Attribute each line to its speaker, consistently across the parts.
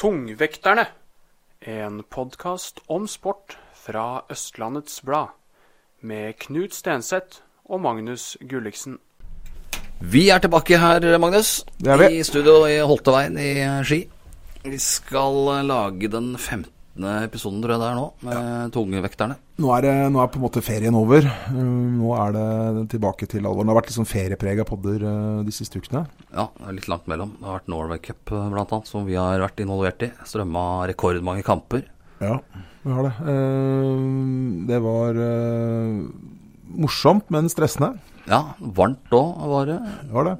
Speaker 1: Tungvekterne, en podkast om sport fra Østlandets Blad, med Knut Stenseth og Magnus Gulliksen.
Speaker 2: Vi er tilbake her, Magnus.
Speaker 3: Det er vi.
Speaker 2: I studio i Holteveien i Ski. Vi skal eh, lage den 15. episoden, tror jeg det er nå, med tungvekterne.
Speaker 3: Nå er, det, nå er på en måte ferien over. Eh, Nå er det tilbake til alvoren. Det har vært litt sånn ferieprega podder eh, de siste ukene.
Speaker 2: Ja, det er litt langt mellom. Det har vært Norway Cup eh, blant annet, som vi har vært involvert i. Strømma rekordmange kamper.
Speaker 3: Ja, vi har det. Eh, Det var eh, morsomt, men stressende.
Speaker 2: Ja, varmt òg var det.
Speaker 3: Det var det.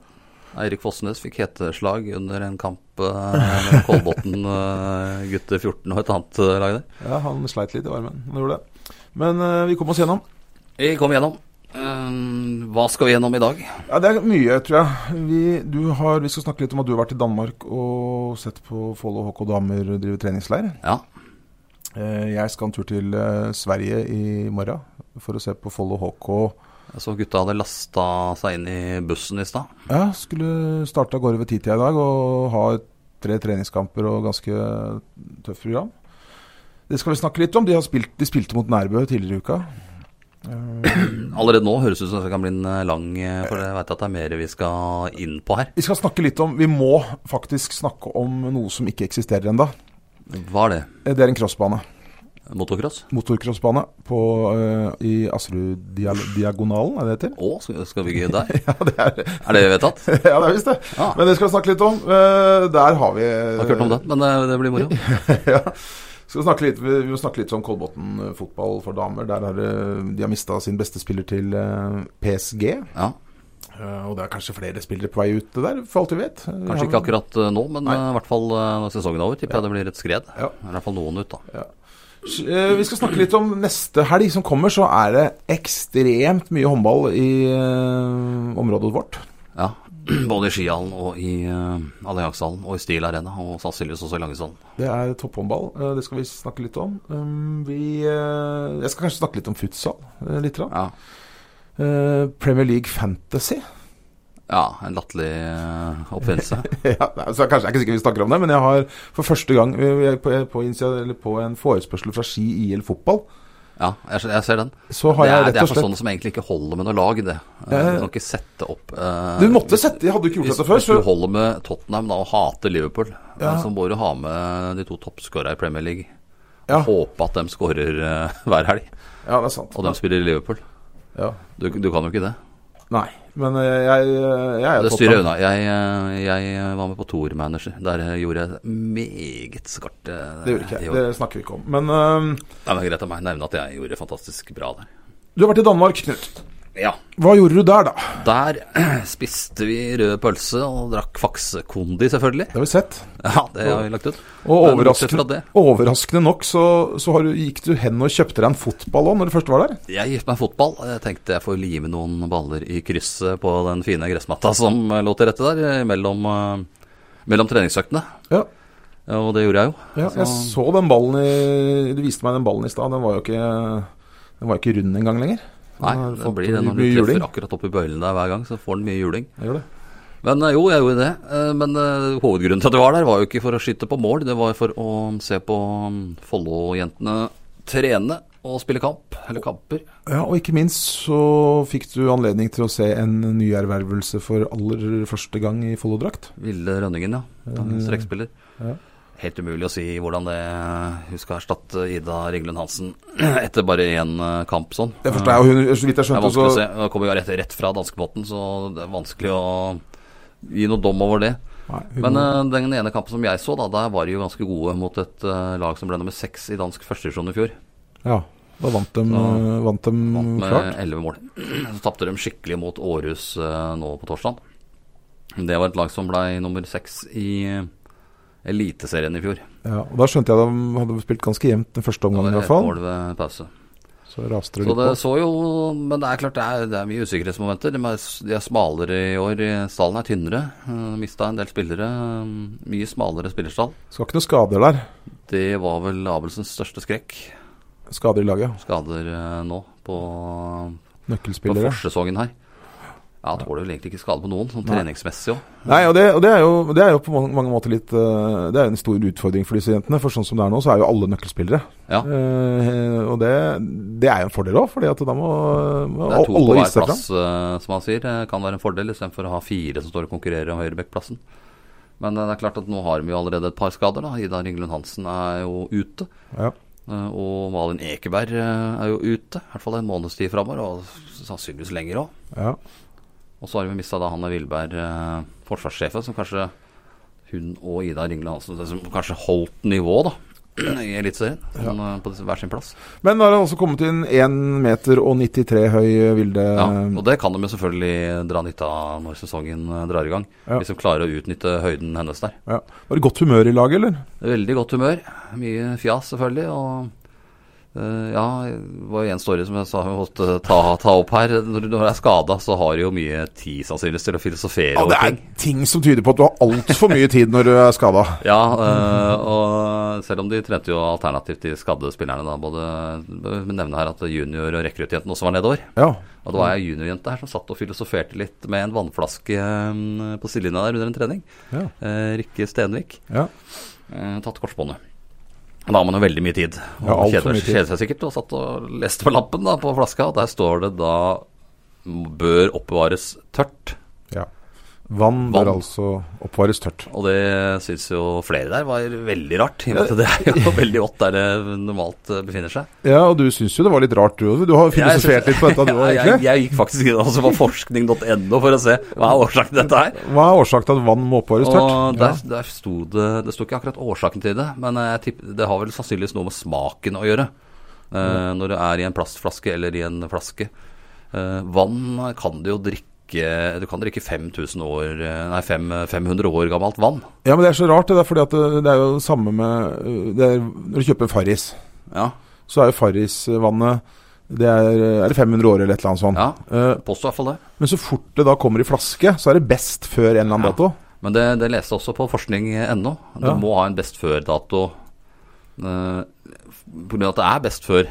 Speaker 2: Eirik Fossnes fikk heteslag under en kamp eh, med Kolbotn eh, gutter 14 og et annet eh, lag der.
Speaker 3: Ja, han sleit litt i varmen. Han gjorde det. Men eh, vi kom oss gjennom.
Speaker 2: Vi kom gjennom. Eh, Hva skal vi gjennom i dag?
Speaker 3: Ja, Det er mye, tror jeg. Vi, du har, vi skal snakke litt om at du har vært i Danmark og sett på Follo HK Damer drive treningsleir.
Speaker 2: Ja,
Speaker 3: Eh, Jeg skal en tur til eh, Sverige i morgen for å se på Follo HK.
Speaker 2: Jeg så gutta hadde lasta seg inn i bussen i stad.
Speaker 3: Ja, skulle starte av gårde ved titida i dag og ha tre treningskamper og ganske tøft program. Det skal vi snakke litt om. De, har spilt, de spilte mot Nærbø tidligere i uka.
Speaker 2: Allerede nå høres det ut som det kan bli en eh, lang eh, For jeg veit at det er mer vi skal inn på her.
Speaker 3: Vi skal snakke litt om Vi må faktisk snakke om noe som ikke eksisterer ennå.
Speaker 2: Hva er det?
Speaker 3: Det er en crossbane.
Speaker 2: Motocross?
Speaker 3: Motocrossbane på, eh, i Aserud-diagonalen, er det det heter?
Speaker 2: Å, skal skal vi ikke der?
Speaker 3: Ja, det er
Speaker 2: Er det vedtatt? Jeg
Speaker 3: ja, det er visst det.
Speaker 2: Ja.
Speaker 3: Men det skal vi snakke litt om. Eh, Der har vi
Speaker 2: Har ikke hørt om det, men eh, det blir moro.
Speaker 3: ja. Skal snakke litt, vi vi må snakke litt om Kolbotn eh, fotball for damer. Der er, det- de har mista sin beste spiller til eh, PSG.
Speaker 2: Ja,
Speaker 3: Eh, Og det er kanskje flere spillere på vei ut det der, for alt vi vet.
Speaker 2: Kanskje ikke akkurat eh, nå, men eh, i hvert fall eh, når sesongen er over, tipper jeg det blir et skred.
Speaker 3: Ja.
Speaker 2: I hvert fall noen ut, da.
Speaker 3: Eh, Vi skal snakke litt om neste helg som kommer, så er det ekstremt mye håndball i eh, området vårt.
Speaker 2: Ja. Både i skihallen og i eh, Alliansehallen og i Stil Arena og sannsynligvis også i Langesand.
Speaker 3: Det er topphåndball, eh, det skal vi snakke litt om. Um, Vi, eh, jeg skal kanskje snakke litt om futsal. eh, Litt. grann.
Speaker 2: Ja.
Speaker 3: Eh, Premier League Fantasy.
Speaker 2: ja, en latterlig eh, oppfinnelse.
Speaker 3: Ja, nei, så kanskje, jeg er ikke sikker vi snakker om det, men jeg har for første gang eh, jeg- på, på, initiat- eller på en forespørsel fra Ski IL fotball,
Speaker 2: Ja, jeg, ser- jeg ser den.
Speaker 3: så har
Speaker 2: det er,
Speaker 3: jeg
Speaker 2: det
Speaker 3: rett
Speaker 2: er
Speaker 3: og
Speaker 2: for sånn,
Speaker 3: slett
Speaker 2: sånne som egentlig ikke holder med noe lag, det. Eh,
Speaker 3: Ja, ja, ja.
Speaker 2: Du kan ikke sette opp eh,
Speaker 3: Du måtte sette, jeg hadde jo ikke gjort
Speaker 2: hvis,
Speaker 3: dette før,
Speaker 2: hvis du
Speaker 3: så
Speaker 2: holder med Tottenham da, og hater Liverpool, eh, så må du ha med de to toppskårerne i Premier League. Og
Speaker 3: Ja.
Speaker 2: Håpe at de skårer eh, hver helg,
Speaker 3: Ja, det er sant.
Speaker 2: og de spiller i Liverpool.
Speaker 3: Ja.
Speaker 2: Du, du kan jo ikke det.
Speaker 3: Nei, men eh, jeg, jeg, jeg er
Speaker 2: Det
Speaker 3: topp,
Speaker 2: styrer jeg unna.
Speaker 3: da.
Speaker 2: Jeg, eh, jeg var med på Tour Manager. Der eh, gjorde jeg meget skarpt. eh,
Speaker 3: Det gjør ikke
Speaker 2: i
Speaker 3: jeg.
Speaker 2: år.
Speaker 3: Det snakker vi ikke om. Men eh,
Speaker 2: Nei, men greit av meg å nevne at jeg gjorde fantastisk bra der.
Speaker 3: du har vært i Danmark, Knut.
Speaker 2: Ja.
Speaker 3: Hva gjorde du der, da?
Speaker 2: Der spiste vi rød pølse og drakk faksekondi, selvfølgelig.
Speaker 3: Det har vi sett.
Speaker 2: Ja, det har vi lagt ut.
Speaker 3: Og
Speaker 2: Men bortsett fra
Speaker 3: overraskende,
Speaker 2: det,
Speaker 3: overraskende nok så, så har du, gikk du hen og kjøpte deg en fotball òg, når du først var der.
Speaker 2: Jeg gikk meg fotball. Jeg tenkte jeg får lime noen baller i krysset på den fine gressmatta som lå til rette der eh, mellom, eh, mellom treningsøktene.
Speaker 3: Ja,
Speaker 2: Og det gjorde jeg jo.
Speaker 3: Ja, jeg så den ballen i Du viste meg den ballen i stad. Den var jo ikke, den var jo ikke rund engang lenger. Den
Speaker 2: Nei,
Speaker 3: har
Speaker 2: det
Speaker 3: fått
Speaker 2: blir det når du
Speaker 3: mye
Speaker 2: treffer
Speaker 3: juling.
Speaker 2: akkurat oppi bøylen der hver gang, så får den mye juling.
Speaker 3: Jeg gjør det.
Speaker 2: Men eh, jo, jeg gjorde det. Eh, Men eh, hovedgrunnen til at jeg var der, var jo ikke for å skyte på mål. Det var for å se på mm, Follo-jentene trene og spille kamp, eller kamper.
Speaker 3: Ja, og ikke minst så fikk du anledning til å se en nyervervelse for aller første gang i Follo-drakt.
Speaker 2: Ville Rønningen, ja. Strekspiller. Helt umulig å si hvordan det eh, Hun skal erstatte Ida Ringlund Hansen etter bare én eh, kamp sånn.
Speaker 3: Det forstår jeg, og hun, så vidt jeg
Speaker 2: Det er
Speaker 3: skjønte,
Speaker 2: vanskelig å
Speaker 3: så
Speaker 2: se. Hun kommer jo rett, rett fra danskebåten, så det er vanskelig å gi noe dom over det.
Speaker 3: Nei, hun-
Speaker 2: Men eh, den ene kampen som jeg så, da, der var de jo ganske gode mot et eh, lag som ble nummer seks i dansk førstedivisjon i fjor.
Speaker 3: Ja, da vant de, vant de Mm, klart.
Speaker 2: Med elleve mål. Så tapte de skikkelig mot Aarhus eh, nå på torsdag. Det var et lag som ble nummer seks i, Eliteserien i fjor.
Speaker 3: Ja, og Da skjønte jeg at de hadde spilt ganske jevnt den første
Speaker 2: Det
Speaker 3: omgangen,
Speaker 2: var
Speaker 3: i hvert
Speaker 2: ett
Speaker 3: fall.
Speaker 2: mål ved eh, pause.
Speaker 3: Så raste det
Speaker 2: Så
Speaker 3: litt
Speaker 2: det
Speaker 3: på.
Speaker 2: så jo Men det er klart det er, det er mye usikkerhetsmomenter. De er, de er smalere i år. Stallen er tynnere. Mista en del spillere. eh, Mye smalere spillerstall.
Speaker 3: Skal ikke noe skader der.
Speaker 2: Det var vel Abelsens største skrekk.
Speaker 3: Skader i laget.
Speaker 2: Skader eh, nå på, på
Speaker 3: Nøkkelspillere.
Speaker 2: forsesongen her. Ja, Tåler vel egentlig ikke skade på noen, sånn treningsmessig òg.
Speaker 3: Nei, og det, og det, er, jo, det er jo på mange, mange måter litt eh, Det er jo en stor utfordring for disse jentene. For sånn som det er nå, så er jo alle nøkkelspillere.
Speaker 2: Ja.
Speaker 3: Eh, og det, det er jo en fordel òg, fordi at da må, må
Speaker 2: Det er to på
Speaker 3: alle
Speaker 2: hver
Speaker 3: vise seg fram.
Speaker 2: plass, eh, som han sier. eh, Kan være en fordel, istedenfor å ha fire som står og konkurrerer om høyrebekkplassen. Men eh, det er klart at nå har vi jo allerede et par skader. da Ida Ringlund Hansen er jo ute.
Speaker 3: Ja.
Speaker 2: eh, Og Malin Ekeberg eh, er jo ute, i hvert fall en måneds tid framover, og s- sannsynligvis lenger òg.
Speaker 3: Ja.
Speaker 2: Og så har vi mista Hanne Wilberg, eh, forsvarssjefen, som kanskje hun og Ida Ringlund Hansen som kanskje holdt nivå da i Eliteserien, sånn, eh, på hver sin plass.
Speaker 3: Men nå har han også kommet inn 1 meter og 93 høy eh, Vilde.
Speaker 2: Ja, og det kan de jo selvfølgelig dra nytte av når sesongen eh, drar i gang.
Speaker 3: Ja.
Speaker 2: Hvis de klarer å utnytte høyden hennes der.
Speaker 3: Ja. Var det godt humør i laget, eller?
Speaker 2: Veldig godt humør. Mye fjas, selvfølgelig. Og eh, ja, det var jo én story som jeg sa vi måtte ta, ta opp her. Når du når du er skada, så har du jo mye tid sannsynligvis til å filosofere
Speaker 3: Ja, det
Speaker 2: over
Speaker 3: er
Speaker 2: ting.
Speaker 3: ting som tyder på at du har altfor mye tid når du er skada.
Speaker 2: Ja, eh, og selv om de trente jo alternativt de skadde spillerne, da. Både vi nevner her at junior- og rekruttjentene også var nedover.
Speaker 3: Ja.
Speaker 2: Og det
Speaker 3: Mm.
Speaker 2: var ei juniorjente her som satt og filosoferte litt med en vannflaske eh, på sidelinja der under en trening.
Speaker 3: Ja.
Speaker 2: Eh, Rikke Stenvik.
Speaker 3: ja.
Speaker 2: Eh, tatt korsbåndet. Da har man jo veldig mye tid.
Speaker 3: Ja,
Speaker 2: Og
Speaker 3: alt for
Speaker 2: kjeder,
Speaker 3: mye tid.
Speaker 2: kjeder seg sikkert og satt og leste på lappen da, på flaska. Og der står det da m- bør oppbevares tørt.
Speaker 3: ja. Vann
Speaker 2: Vann.
Speaker 3: bør altså oppvares tørt.
Speaker 2: Og det syns jo flere der var veldig rart. I og med at det er jo veldig vått der det normalt eh, befinner seg.
Speaker 3: Ja, og du syns jo det var litt rart, du også. Du har
Speaker 2: Jeg synes-
Speaker 3: filosofert litt på dette, du òg,
Speaker 2: Ja, jeg,
Speaker 3: egentlig.
Speaker 2: jeg gikk faktisk inn også på forskning.no for å se hva er årsaken til dette her.
Speaker 3: Hva er årsaken til at vann må oppvares
Speaker 2: Og
Speaker 3: tørt?
Speaker 2: der, der sto det Det sto ikke akkurat årsaken til det, men eh, jeg tipper, det har vel sannsynligvis noe med smaken å gjøre.
Speaker 3: Mm.
Speaker 2: eh, Når det er i en plastflaske eller i en flaske. Eh, vann kan du jo drikke Du kan drikke 5000 år eh, Nei, fem- 500 år gammelt vann.
Speaker 3: Ja, men det er så rart, det der, fordi at det, det er jo samme med øh, det er, Når du kjøper Farris,
Speaker 2: Ja.
Speaker 3: så er jo Farris-vannet det er, øh, er det 500 år eller et eller annet sånt.
Speaker 2: ja
Speaker 3: Eh,
Speaker 2: Påstår i hvert fall det.
Speaker 3: men så fort det da kommer i flaske, så er det best før en eller annen
Speaker 2: Ja.
Speaker 3: dato.
Speaker 2: Men det, det leste jeg også på forskning.no. Du
Speaker 3: Ja.
Speaker 2: må ha en best før-dato eh, på grunn av at det er best før.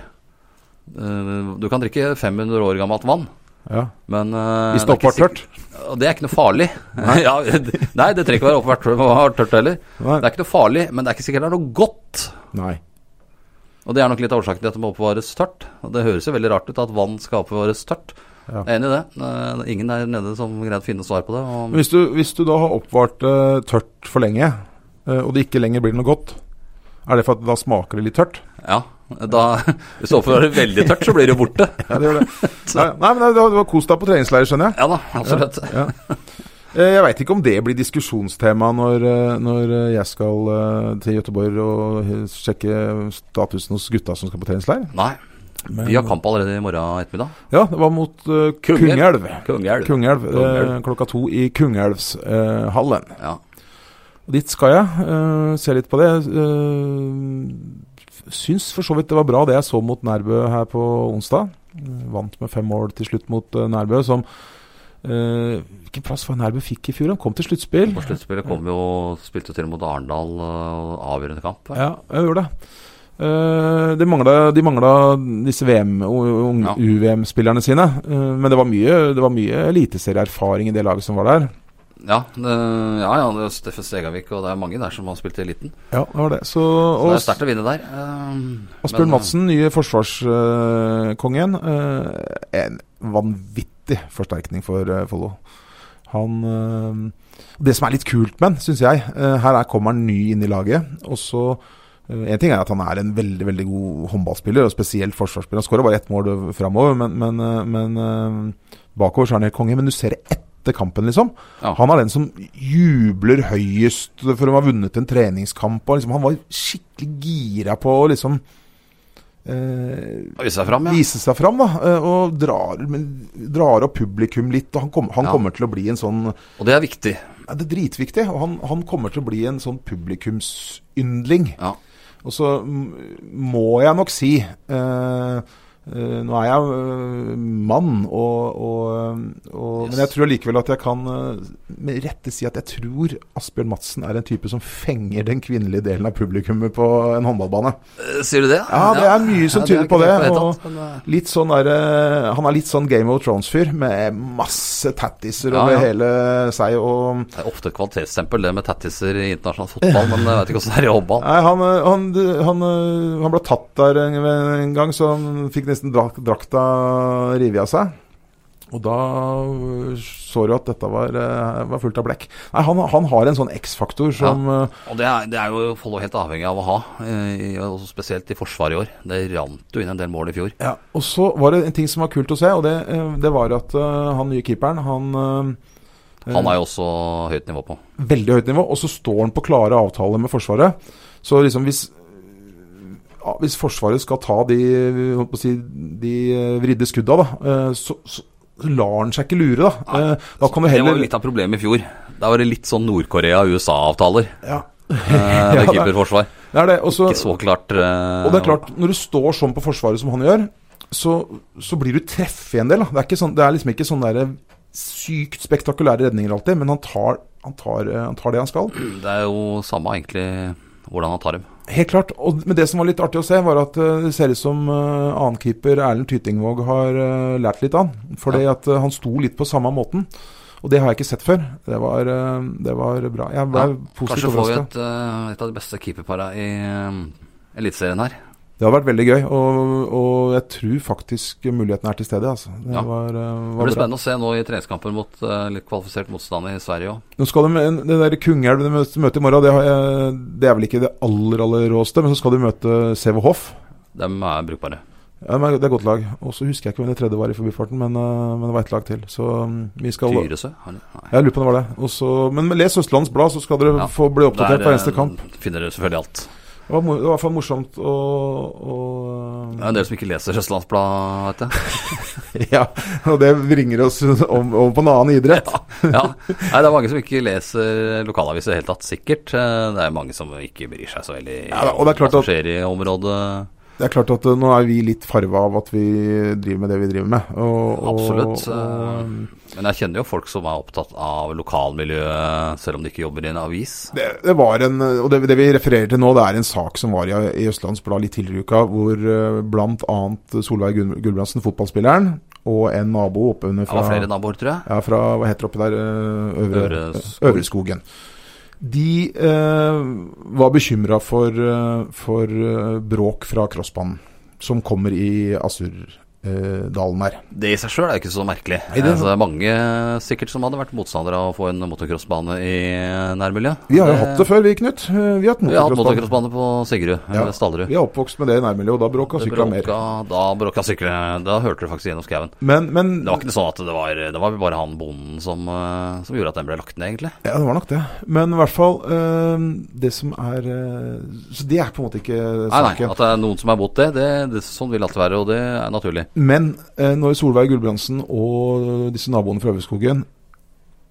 Speaker 2: Eh, du kan drikke 500 år gammelt vann,
Speaker 3: Ja.
Speaker 2: men eh,
Speaker 3: Hvis
Speaker 2: det
Speaker 3: det
Speaker 2: er ikke
Speaker 3: oppvar tørt.
Speaker 2: sikk- Og det er ikke noe farlig. Nei, ja, det, nei det trenger ikke være oppvart tørt, tørt heller.
Speaker 3: Nei.
Speaker 2: Det er ikke noe farlig, men det er ikke sikkert det er noe godt.
Speaker 3: Nei.
Speaker 2: Og det er nok litt av årsaken til at det må oppbevares tørt. Og det høres jo veldig rart ut at vann skal oppbevares tørt.
Speaker 3: Ja.
Speaker 2: Jeg er enig i det. Eh, ingen der nede som greide å finne svar på det. Og,
Speaker 3: Men Hvis du, hvis du da har oppvart eh, tørt for lenge, eh, og det ikke lenger blir noe godt, er det for at da smaker det litt tørt?
Speaker 2: Ja, da, hvis du oppfører det veldig tørt, så blir det jo borte.
Speaker 3: Ja, det gjør det. Nei, nei men du har- du har kost deg på treningsleir, skjønner jeg.
Speaker 2: Ja da, absolutt.
Speaker 3: Eh, Jeg veit ikke om det blir diskusjonstema når, eh, når eh, jeg skal eh, til Gøteborg og eh, sjekke statusen hos gutta som skal på treningsleir.
Speaker 2: Nei, vi har kamp allerede i morgen ettermiddag.
Speaker 3: Ja, det var mot eh,
Speaker 2: Kungelv.
Speaker 3: Kungelv.
Speaker 2: Kongeelv.
Speaker 3: Kungelv. Eh,
Speaker 2: Kungelv.
Speaker 3: klokka to i Kungelvshallen.
Speaker 2: Ja.
Speaker 3: Og Dit skal jeg. eh, se litt på det. Uh, syns for så vidt det var bra det jeg så mot Nærbø her på onsdag. Eh, Vant med fem mål til slutt mot eh, Nærbø, som eh, Hvilken plass var Nærbø fikk i fjor? Han kom til sluttspill.
Speaker 2: På sluttspillet kom jo spilte jo til mot Arendal øh, avgjørende kamp.
Speaker 3: Ja, jeg gjorde det. Eh, de mangla, de mangla disse VM, og- og
Speaker 2: Ja.
Speaker 3: UVM-spillerne sine. Eh, men det var mye, det var mye eliteserieerfaring i det laget som var der.
Speaker 2: Ja, øh, ja, ja det er Steffen Stegavik og det er mange der som har spilt i eliten.
Speaker 3: Ja, det var det. Så,
Speaker 2: Så
Speaker 3: og,
Speaker 2: det er sterkt å vinne der. ehm, men,
Speaker 3: Asbjørn Madsen, nye forsvarskongen. eh, en vanvittig forsterkning for eh, Follo. Han eh, Det som er litt kult med han, syns jeg eh, Her er, kommer han ny inn i laget. Og så eh, En ting er at han er en veldig veldig god håndballspiller, og spesielt forsvarsspiller. Han skårer bare ett mål framover, men, men, eh, men eh, bakover så er han helt konge. Men du ser det etter kampen, liksom.
Speaker 2: Ja.
Speaker 3: Han er den som jubler høyest for å ha vunnet en treningskamp. Og liksom, han var skikkelig gira på å liksom eh,
Speaker 2: Vise seg fram, ja.
Speaker 3: vise seg fram, da. eh, Og drar, men, drar opp publikum litt. Og han, kom, han
Speaker 2: Ja.
Speaker 3: kommer til å bli en sånn
Speaker 2: Og det er viktig.
Speaker 3: ja, Det er dritviktig. Og han, han kommer til å bli en sånn publikumsyndling.
Speaker 2: Ja.
Speaker 3: Og så m- må jeg nok si eh, eh, Nå er jeg eh, mann, og, og, og, men jeg
Speaker 2: Yes.
Speaker 3: tror likevel at jeg kan eh, med rette si at jeg tror Asbjørn Madsen er en type som fenger den kvinnelige delen av publikummet på en håndballbane.
Speaker 2: Eh, Sier du det?
Speaker 3: Ja, det er mye som
Speaker 2: Ja, det er
Speaker 3: tyder på
Speaker 2: ikke
Speaker 3: det,
Speaker 2: helt
Speaker 3: og-
Speaker 2: tatt, men, eh,
Speaker 3: Litt sånn der, eh, Han er litt sånn Game of Thrones-fyr, med masse tattiser
Speaker 2: Ja,
Speaker 3: over
Speaker 2: ja.
Speaker 3: hele seg. og...
Speaker 2: Det er ofte et kvalitetsstempel, det med tattiser i internasjonal fotball, men eh, jeg vet ikke hvordan det er i håndball.
Speaker 3: Nei, han, eh, han, han, eh, han ble tatt der en, en gang, så han fikk nesten drak, drakta revet av seg. Og da eh, så du at dette var, eh, var fullt av blekk. Nei, han, han har en sånn X-faktor som eh,
Speaker 2: Og det er, det er jo Follo helt avhengig av å ha, eh, i- og spesielt i forsvaret i år. Det rant jo inn en del mål i fjor.
Speaker 3: Ja, og så var det en ting som var kult å se, og det, eh, det var at eh, han nye keeperen, han eh,
Speaker 2: Han er jo også høyt nivå på.
Speaker 3: veldig høyt nivå, og så står han på klare avtaler med Forsvaret. Så liksom hvis ja, hvis Forsvaret skal ta de, holdt på å si, de eh, vridde skudda, da, eh, så, så lar han seg ikke lure, da. Eh, Da kan du
Speaker 2: Det var jo
Speaker 3: heller
Speaker 2: litt av problemet i fjor. Da var det litt sånn Nord-Korea-USA-avtaler.
Speaker 3: Ja.
Speaker 2: Eh,
Speaker 3: Ja,
Speaker 2: med
Speaker 3: det-
Speaker 2: keeperforsvar.
Speaker 3: Det er det. Og så,
Speaker 2: Ikke så klart. eh,
Speaker 3: og det er klart, når du står sånn på Forsvaret som han gjør, så, så blir du treffet en del. Da. Det, er ikke sånn, det er liksom ikke sånne der sykt spektakulære redninger alltid, men han tar, han tar, eh, han tar det han skal.
Speaker 2: Det er jo samme egentlig hvordan han tar dem.
Speaker 3: Helt klart. Og, men det som var litt artig å se, var at eh, det ser ut som eh, annenkeeper Erlend Tytingvåg har eh, lært litt av han. Fordi at eh, han sto litt på samme måten. Og det har jeg ikke sett før. Det var, eh, det var bra. Jeg ble
Speaker 2: Ja, Kanskje
Speaker 3: positivt
Speaker 2: får vi
Speaker 3: overraska.
Speaker 2: et, eh, et av de beste keeperpara i eh, Eliteserien her.
Speaker 3: Det har vært veldig gøy, og, og jeg tror faktisk muligheten er til stede. Altså. Det
Speaker 2: Ja.
Speaker 3: var, eh,
Speaker 2: Det
Speaker 3: var
Speaker 2: blir
Speaker 3: bra.
Speaker 2: spennende å se nå i treningskampen mot eh, litt kvalifisert motstand i Sverige òg.
Speaker 3: Nå skal de, eh, Det der Kungelv de møter møter i morgen, det, har jeg, det er vel ikke det aller aller råeste, men så skal de møte CV Hoff.
Speaker 2: De er brukbare.
Speaker 3: Ja, men Det er et godt lag. Og så husker jeg ikke hvem det tredje var i forbifarten, men, eh, men det var ett lag til. Så mm, vi skal
Speaker 2: Tyresø? har de- Nei.
Speaker 3: Jeg lurer på om det var det. Og så- men les Østlandets Blad, så skal dere
Speaker 2: Ja,
Speaker 3: få bli oppdatert
Speaker 2: Der,
Speaker 3: på eneste
Speaker 2: eh,
Speaker 3: kamp.
Speaker 2: Finner dere selvfølgelig alt.
Speaker 3: Det var, mo- det var i hvert fall morsomt å, å
Speaker 2: Det er en del som ikke leser Østlandsblad, vet jeg.
Speaker 3: Ja, og det bringer oss om- over på en annen idrett.
Speaker 2: Ja. Nei, det er mange som ikke leser lokalaviser i det hele tatt, sikkert. Eh, Det er mange som ikke bryr seg så veldig
Speaker 3: Ja, da, og det er klart
Speaker 2: om hva som
Speaker 3: at-
Speaker 2: skjer i området.
Speaker 3: Det er klart at eh, nå er vi litt farva av at vi driver med det vi driver med. Og, og,
Speaker 2: Absolutt.
Speaker 3: Og,
Speaker 2: eh, Men jeg kjenner jo folk som er opptatt av lokalmiljøet, selv om de ikke jobber i en avis.
Speaker 3: det, det var en, og det, det vi refererer til nå, det er en sak som var i, i Østlands Blad litt tidligere i uka, hvor eh, blant annet Solveig Gun- Gulbrandsen, fotballspilleren, og en nabo oppunder
Speaker 2: Det var
Speaker 3: fra,
Speaker 2: flere naboer, tror jeg.
Speaker 3: ja, fra Hva heter det oppe der? eh, Øvre,
Speaker 2: Øres-
Speaker 3: Øreskogen. De eh, var bekymra for, eh, for eh, bråk fra crossbanen, som kommer i Asurdalen her.
Speaker 2: Det i seg sjøl er jo ikke så merkelig.
Speaker 3: Nei, det er
Speaker 2: Eh, så det er mange sikkert som hadde vært motstandere av å få en motocrossbane i nærmiljøet.
Speaker 3: Vi har jo hatt det før, vi, Knut. Eh, Vi har hatt
Speaker 2: Vi har hatt
Speaker 3: motocrossbane.
Speaker 2: motocrossbane på Sigrud,
Speaker 3: Ja.
Speaker 2: eller Stallerud.
Speaker 3: Vi er oppvokst med det i nærmiljøet, og da bråk og
Speaker 2: Det
Speaker 3: sykla mer.
Speaker 2: bråka- Da bråka syklene. Da hørte du faktisk gjennom skauen.
Speaker 3: Men, men
Speaker 2: Det var ikke sånn at det var Det var bare han bonden som, eh, som gjorde at den ble lagt ned, egentlig.
Speaker 3: Ja, det var nok det. Men i hvert fall eh, Det som er eh, Så det er på en måte ikke
Speaker 2: Nei, nei,
Speaker 3: saken.
Speaker 2: At det er noen som er mot det, det, det sånn vil det alltid være, og det er naturlig.
Speaker 3: Men eh, når Solveig Gulbrandsen og disse naboene fra Øverskogen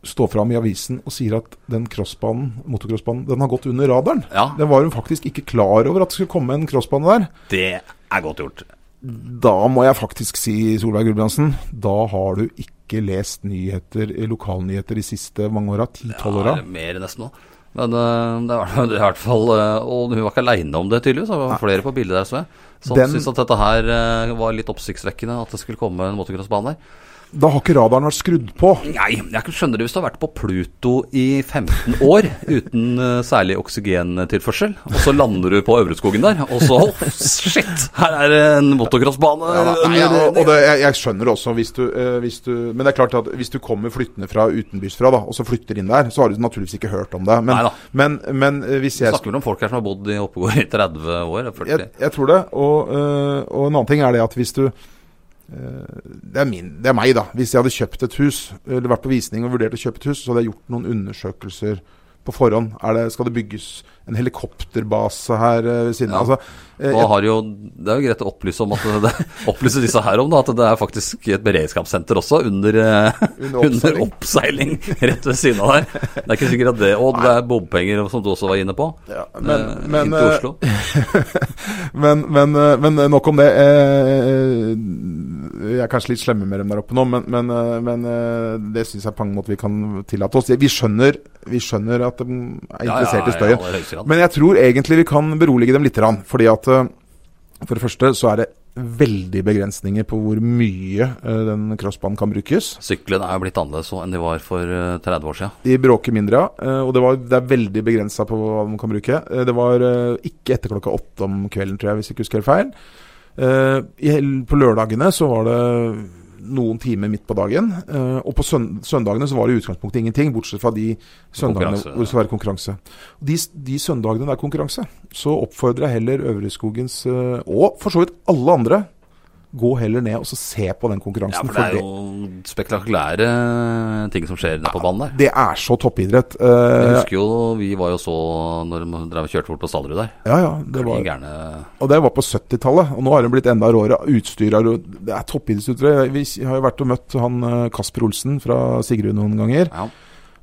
Speaker 3: står fram i avisen og sier at den crossbanen, motocrossbanen, den har gått under radaren.
Speaker 2: Ja,
Speaker 3: Den var hun faktisk ikke klar over at det skulle komme en crossbane der.
Speaker 2: det er godt gjort.
Speaker 3: Da må jeg faktisk si, Solveig Gulbrandsen, da har du ikke lest nyheter, eh, lokalnyheter de siste mange åra, ti-tolv åra.
Speaker 2: Ja, mer nesten nå. Men eh, det var det i hvert fall eh, Og hun var ikke aleine om det, tydeligvis. Det var flere på bildet der, så jeg. Som
Speaker 3: Den-
Speaker 2: syntes at dette her eh, var litt oppsiktsvekkende, at det skulle komme en motocrossbane der.
Speaker 3: Da har ikke radaren vært skrudd på.
Speaker 2: Nei, jeg kan skjønne det hvis du har vært på Pluto i 15 år uten eh, særlig oksygentilførsel, og så lander du på Øvreskogen der, og så oh, shit, her er det en motocrossbane.
Speaker 3: Ja, da, nei, ja, og, og det, jeg, jeg skjønner også hvis du, eh, hvis du Men det er klart at hvis du kommer flyttende fra utenbysfra, da, og så flytter inn der, så har du naturligvis ikke hørt om det. Men,
Speaker 2: Neida.
Speaker 3: men, men eh, hvis
Speaker 2: Vi
Speaker 3: jeg
Speaker 2: snakker vel om folk her som har bodd i Oppegård i 30 år. 40.
Speaker 3: jeg, jeg tror det. Og, eh, og en annen ting er det at hvis du eh, det er, min, det er meg, da. Hvis jeg hadde kjøpt et hus, eller vært på visning og vurdert å kjøpe et hus, så hadde jeg gjort noen undersøkelser på forhånd? Er det, skal det bygges en helikopterbase her eh, ved siden av?
Speaker 2: Ja.
Speaker 3: Altså, eh,
Speaker 2: Nå har jo, det er jo greit å opplyse, om at det, opplyse disse her om da, at det er faktisk et beredskapssenter også under, eh,
Speaker 3: Under
Speaker 2: under
Speaker 3: oppseiling.
Speaker 2: oppseiling rett ved siden av der. Det er ikke sikkert at det Og det er bompenger, som du også var inne på.
Speaker 3: ja,
Speaker 2: eh,
Speaker 3: men, men,
Speaker 2: inn til
Speaker 3: eh,
Speaker 2: Oslo.
Speaker 3: men, men, eh, men nok om det. Eh, Jeg er kanskje litt slemme med dem der oppe nå, men, men, eh, men eh, det syns jeg på en måte vi kan tillate oss. Vi skjønner, vi skjønner at de er interessert i støyen.
Speaker 2: aller høyeste grad.
Speaker 3: Men jeg tror egentlig vi kan berolige dem litt. Fordi at eh, for det første så er det veldig begrensninger på hvor mye eh, den crossbanen kan brukes.
Speaker 2: Syklene er jo blitt annerledes nå enn de var for eh, 30 år siden.
Speaker 3: De bråker mindre, ja. Eh, Og det, var, det er veldig begrensa på hva de kan bruke. Eh, Det var eh, ikke etter klokka åtte om kvelden, tror jeg, hvis jeg ikke husker helt feil. Eh, i hel- På lørdagene så var det noen timer midt på dagen. eh, Og på søn- søndagene så var det i utgangspunktet ingenting, bortsett fra de søndagene
Speaker 2: Konkurranse,
Speaker 3: hvor det skal være konkurranse. Og De, s- de søndagene det er konkurranse, så oppfordrer jeg heller Øvreskogens, eh, og for så vidt alle andre, gå heller ned og så se på den
Speaker 2: Ja,
Speaker 3: konkurransen.
Speaker 2: for det er jo spektakulære eh, ting som skjer nede på banen der.
Speaker 3: det er så toppidrett.
Speaker 2: Jeg
Speaker 3: Eh,
Speaker 2: husker jo vi var jo så når de drev og kjørte bort på Stallerud der.
Speaker 3: Ja, ja, det
Speaker 2: Det
Speaker 3: var
Speaker 2: var gærne
Speaker 3: Og det var på 70-tallet, og nå har det blitt enda råere. Utstyr er jo- Det er toppidrettsutøvere. Vi har jo vært og møtt han eh, Kasper Olsen fra Sigrud noen ganger.
Speaker 2: ja.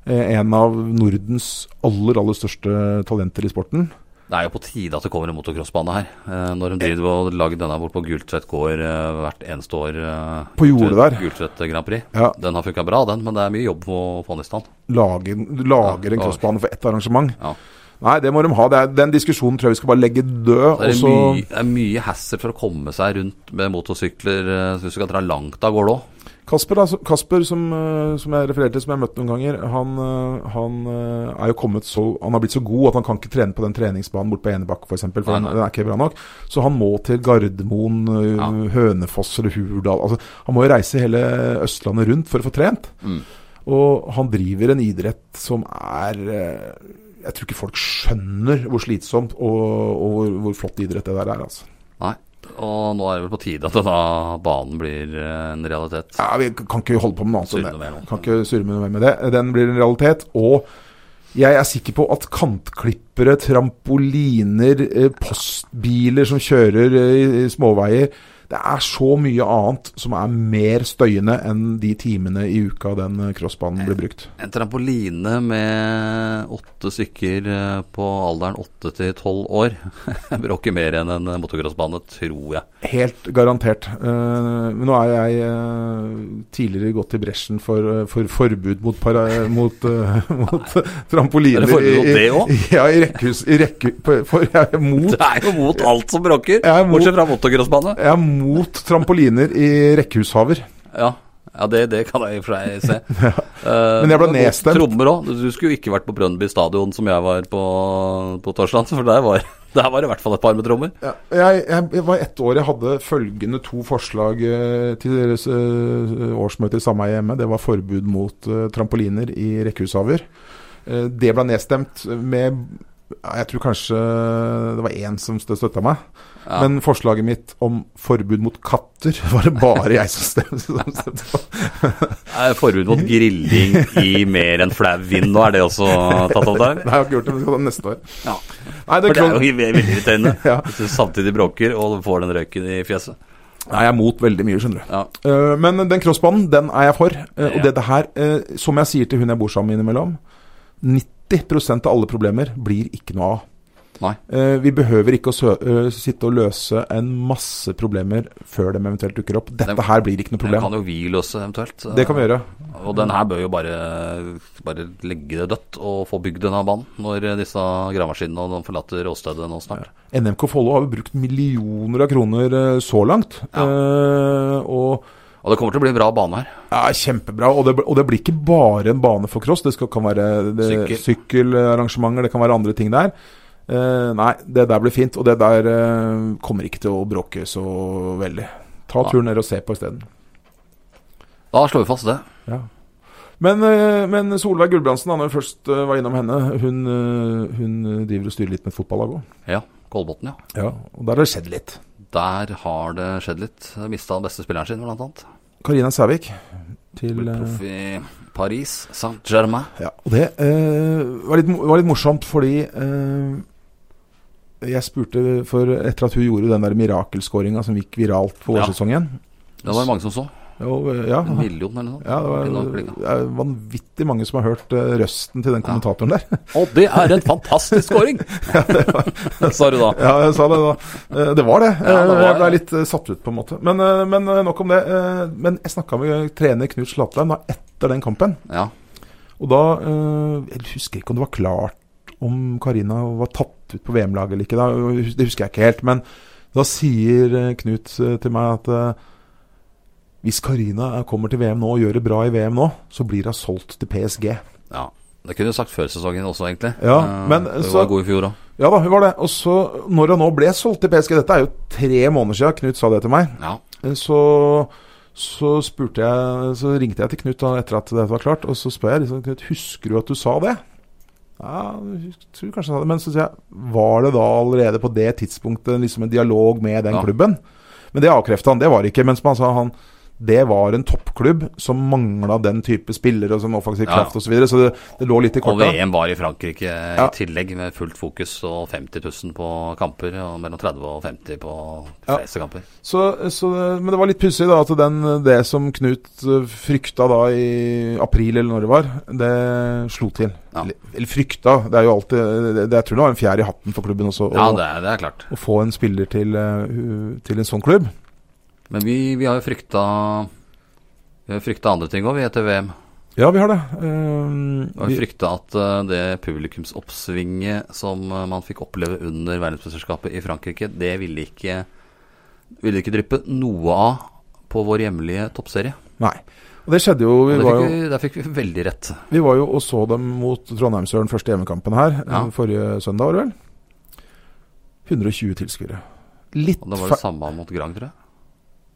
Speaker 3: Eh, En av Nordens aller, aller største talenter i sporten.
Speaker 2: Det er jo på tide at det kommer en motocrossbane her. eh, Når de driver og lager denne bort på Gultvedt gård eh, hvert eneste år. eh,
Speaker 3: På jordet
Speaker 2: til
Speaker 3: der.
Speaker 2: Gultvedt Grand Prix.
Speaker 3: Ja.
Speaker 2: Den har funka bra, den, men det er mye jobb på å få den i stand.
Speaker 3: Lager, du lager en
Speaker 2: Ja, ok.
Speaker 3: crossbane for ett arrangement.
Speaker 2: Ja.
Speaker 3: Nei, det må de ha. Det er, den diskusjonen tror jeg vi skal bare legge død.
Speaker 2: Det
Speaker 3: Og
Speaker 2: er,
Speaker 3: så
Speaker 2: mye, det er mye hassle for å komme seg rundt med motorsykler. eh, Så hvis du skal dra langt av gårde òg.
Speaker 3: Kasper, da, som- Kasper som, eh, som jeg refererte til, som jeg har møtt noen ganger, han, eh, han eh, er jo kommet så Han har blitt så god at han kan ikke trene på den treningsbanen borte på Enebakk f.eks., for, eksempel, for
Speaker 2: Nei,
Speaker 3: den,
Speaker 2: nei.
Speaker 3: den er ikke bra nok. Så han må til Gardermoen, eh,
Speaker 2: Ja.
Speaker 3: Hønefoss eller Hurdal altså, Han må jo reise hele Østlandet rundt for å få trent.
Speaker 2: Mm.
Speaker 3: Og han driver en idrett som er eh, Jeg tror ikke folk skjønner hvor slitsomt og, og hvor, hvor flott idrett det der er, altså.
Speaker 2: Nei. Og nå er det vel på tide at denne banen blir eh, en realitet.
Speaker 3: Ja, Vi kan ikke holde på med noe annet enn
Speaker 2: Surre
Speaker 3: det.
Speaker 2: med noe.
Speaker 3: Kan ikke surre med noe mer med det. Den blir en realitet. Og jeg er sikker på at kantklippere, trampoliner, eh, postbiler som kjører eh, i- i småveier Det er så mye annet som er mer støyende enn de timene i uka den eh, crossbanen blir brukt.
Speaker 2: En trampoline med åtte stykker eh, på alderen åtte til tolv år bråker mer enn en motocrossbane, tror jeg.
Speaker 3: Helt garantert. Eh, Men nå er jeg eh, tidligere gått i bresjen for, eh, for forbud mot, para, mot, eh, mot trampoliner
Speaker 2: Er det forbud mot
Speaker 3: i- i-
Speaker 2: det også?
Speaker 3: Ja, i rekkehus. I rekke, på- for jeg er mot
Speaker 2: Det er jo mot alt som bråker,
Speaker 3: Jeg er mot-
Speaker 2: bortsett fra motocrossbane.
Speaker 3: Jeg er mot trampoliner i rekkehushaver.
Speaker 2: Ja, ja det, det kan jeg i og for seg se. Eh,
Speaker 3: Men jeg ble nedstemt.
Speaker 2: Trommer òg. Du skulle jo ikke vært på Brønnby stadion som jeg var på på torsdag, for der var, der var det i hvert fall et par med trommer.
Speaker 3: Jeg, jeg, jeg var ett år jeg hadde følgende to forslag eh, til deres eh, årsmøte i sameie hjemme. Det var forbud mot eh, trampoliner i rekkehushaver. Eh, Det ble nedstemt med ja, Jeg tror kanskje det var én som støtta meg.
Speaker 2: Ja.
Speaker 3: Men forslaget mitt om forbud mot katter var det bare jeg som stemte- som stemte på.
Speaker 2: Er Forbud mot grilling i mer enn flau vind nå, er det også tatt opp der?
Speaker 3: Nei, jeg har ikke gjort det, men jeg skal ta det neste år.
Speaker 2: Ja.
Speaker 3: Nei,
Speaker 2: For
Speaker 3: det er
Speaker 2: det er
Speaker 3: klart.
Speaker 2: jo ve- veldig irriterende
Speaker 3: Ja.
Speaker 2: hvis du samtidig bråker og får den røyken i fjeset.
Speaker 3: Nei, jeg er mot veldig mye, skjønner du.
Speaker 2: Ja.
Speaker 3: Eh, men den crossbanen, den er jeg for. Eh,
Speaker 2: Ja.
Speaker 3: Og dette her, eh, som jeg sier til hun jeg bor sammen med innimellom 90 av alle problemer blir ikke noe av.
Speaker 2: Nei.
Speaker 3: Eh, vi behøver ikke å sø eh, sitte og løse en masse problemer før de eventuelt dukker opp. Dette
Speaker 2: Den-
Speaker 3: her blir ikke noe
Speaker 2: Den
Speaker 3: problem.
Speaker 2: kan jo vi løse eventuelt.
Speaker 3: Det kan vi gjøre.
Speaker 2: Og den her bør jo bare, bare legge det dødt og få bygd denne banen når disse gravemaskinene og de forlater åstedet nå snart.
Speaker 3: NMK Follo har jo brukt millioner av kroner eh, så langt.
Speaker 2: Ja.
Speaker 3: Eh, og
Speaker 2: Og det kommer til å bli en bra bane her.
Speaker 3: Ja, kjempebra. Og det, bl- og det blir ikke bare en bane for cross. Det skal, kan være det,
Speaker 2: Sykkel.
Speaker 3: sykkelarrangementer, det kan være andre ting der. Eh, nei, det der blir fint, og det der eh, kommer ikke til å bråke så veldig. Ta
Speaker 2: Nei.
Speaker 3: turen ned og se på isteden.
Speaker 2: Da slår vi fast det.
Speaker 3: Ja. Men, eh, men Solveig Gulbrandsen, da, når vi først eh, var innom henne, hun, eh, hun driver og styrer litt med et fotballag òg.
Speaker 2: Ja, Kolbotn, ja.
Speaker 3: Ja, og der har det skjedd litt.
Speaker 2: Der har det skjedd litt. Mista den beste spilleren sin, blant annet.
Speaker 3: Karina Sævik til
Speaker 2: Ble
Speaker 3: eh,
Speaker 2: proff i Paris, Saint-Germain.
Speaker 3: Ja, og det eh, var, litt, mo- var litt morsomt fordi eh, jeg spurte for etter at hun gjorde den der mirakelskåringa som gikk viralt på
Speaker 2: Ja.
Speaker 3: vårsesongen.
Speaker 2: Det var det mange som så.
Speaker 3: Og, eh, ja,
Speaker 2: En million eller noe sånt.
Speaker 3: ja, det var
Speaker 2: Innan klinga.
Speaker 3: det er vanvittig mange som har hørt eh, røsten til den
Speaker 2: Ja.
Speaker 3: kommentatoren der.
Speaker 2: Og det er en fantastisk scoring! Sa du da.
Speaker 3: Ja, jeg sa det da. Eh, Det var det.
Speaker 2: Ja, det var
Speaker 3: jeg ble
Speaker 2: det.
Speaker 3: litt eh, satt ut, på en måte. Men, eh, men eh, nok om det. Eh, Men jeg snakka med trener Knut Slattheim da etter den kampen.
Speaker 2: Ja.
Speaker 3: Og da eh, Jeg husker ikke om det var klart om Karina var tatt ut på VM-laget eller ikke. Da. Det husker jeg ikke helt. Men da sier eh, Knut eh, til meg at eh, hvis Karina eh, kommer til VM nå og gjør det bra i VM nå, så blir hun solgt til PSG.
Speaker 2: ja. Det kunne du sagt før sesongen også, egentlig.
Speaker 3: Ja,
Speaker 2: Eh,
Speaker 3: men
Speaker 2: Du
Speaker 3: så-
Speaker 2: var god i fjor òg.
Speaker 3: Ja da, hun var det. Og så, når hun nå ble solgt til PSG Dette er jo tre måneder siden Knut sa det til meg.
Speaker 2: Ja.
Speaker 3: Eh, Så, så spurte jeg Så ringte jeg til Knut da, etter at dette var klart, og så spør jeg liksom Knut, husker du at du sa det? Ja, jeg tror kanskje jeg sa det. Men så sier jeg Var det da allerede på det tidspunktet liksom en dialog med den
Speaker 2: Ja.
Speaker 3: klubben? Men det avkrefta han. Det var det ikke. Mens man sa han det var en toppklubb som mangla den type spillere og som offensiv
Speaker 2: Ja.
Speaker 3: kraft osv. Så, videre, så det, det lå litt i
Speaker 2: Og
Speaker 3: korta.
Speaker 2: VM var i Frankrike eh,
Speaker 3: Ja.
Speaker 2: i tillegg, med fullt fokus og 50 000 på kamper. Og mellom 30 og 50 på de
Speaker 3: Ja.
Speaker 2: fleste kamper.
Speaker 3: Så, så, men det var litt pussig da, at den, det som Knut eh, frykta da i april, eller når det var, det slo til.
Speaker 2: Ja.
Speaker 3: Eller, eller frykta, det er jo alltid det, det, Jeg tror det var en fjær i hatten for klubben også, å,
Speaker 2: Ja, det er, det er klart.
Speaker 3: å få en spiller til, eh, hu- til en sånn klubb.
Speaker 2: Men vi, vi har jo frykta Vi har frykta andre ting òg, vi, etter VM.
Speaker 3: Ja, vi har det. Ehm,
Speaker 2: Vi har jo frykta at eh, det publikumsoppsvinget som eh, man fikk oppleve under verdensmesterskapet i Frankrike, det ville ikke, ville ikke dryppe noe av på vår hjemlige toppserie.
Speaker 3: nei. Og det skjedde jo.
Speaker 2: Og
Speaker 3: Vi
Speaker 2: det
Speaker 3: var
Speaker 2: fikk
Speaker 3: jo
Speaker 2: vi, der fikk vi veldig rett.
Speaker 3: Vi var jo og så dem mot Trondheimsøren første hjemmekampen her
Speaker 2: Ja.
Speaker 3: eh, forrige søndag, var det vel? 120 tilskuere. Litt
Speaker 2: Og det var
Speaker 3: fe-
Speaker 2: det samme mot Grang, tror jeg.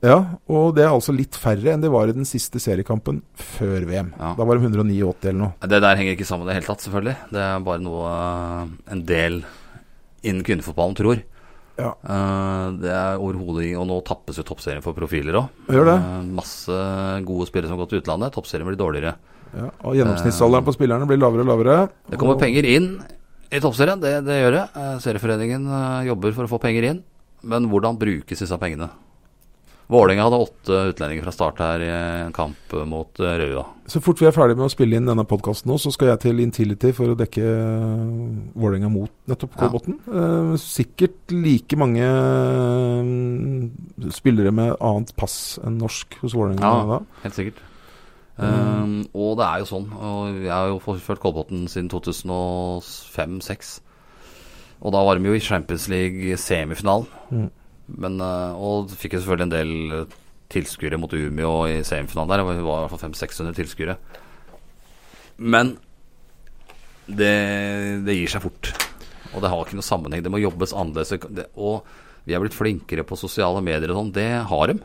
Speaker 3: Ja, og det er altså litt færre enn det var i den siste seriekampen før VM.
Speaker 2: Ja.
Speaker 3: Da var de 189 eller noe.
Speaker 2: Det der henger ikke sammen i det hele tatt, selvfølgelig. Det er bare noe eh, en del innen kvinnefotballen tror.
Speaker 3: Ja.
Speaker 2: Eh, Det er overhodet Og nå tappes jo toppserien for profiler òg.
Speaker 3: Gjør det.
Speaker 2: Masse gode spillere som har gått til utlandet. Toppserien blir dårligere.
Speaker 3: Ja, og gjennomsnittsalderen på spillerne blir lavere og lavere.
Speaker 2: Det kommer
Speaker 3: og,
Speaker 2: penger inn i toppserien, det, det gjør det. Eh, Serieforeningen eh, jobber for å få penger inn. Men hvordan brukes disse pengene? Vålerenga hadde åtte utlendinger fra start her i en kamp mot eh, Røa.
Speaker 3: Så fort vi er ferdig med å spille inn denne podkasten nå, så skal jeg til Intility for å dekke eh, Vålerenga mot nettopp
Speaker 2: Ja.
Speaker 3: Kolbotn. Eh, sikkert like mange eh, spillere med annet pass enn norsk hos Vålerenga
Speaker 2: Ja.
Speaker 3: da.
Speaker 2: Helt sikkert. Um, og det er jo sånn. Og jeg har jo forfølgt Kolbotn siden 2005-2006. Og da var de jo i Champions League semifinalen.
Speaker 3: Mm.
Speaker 2: Men, eh, og fikk jo selvfølgelig en del eh, tilskuere mot Umi og i semifinalen der. Det var i hvert fall 500-600 tilskuere. Men det, det gir seg fort. Og det har ikke noe sammenheng. Det må jobbes annerledes. Det, og vi er blitt flinkere på sosiale medier og sånn. Det har de.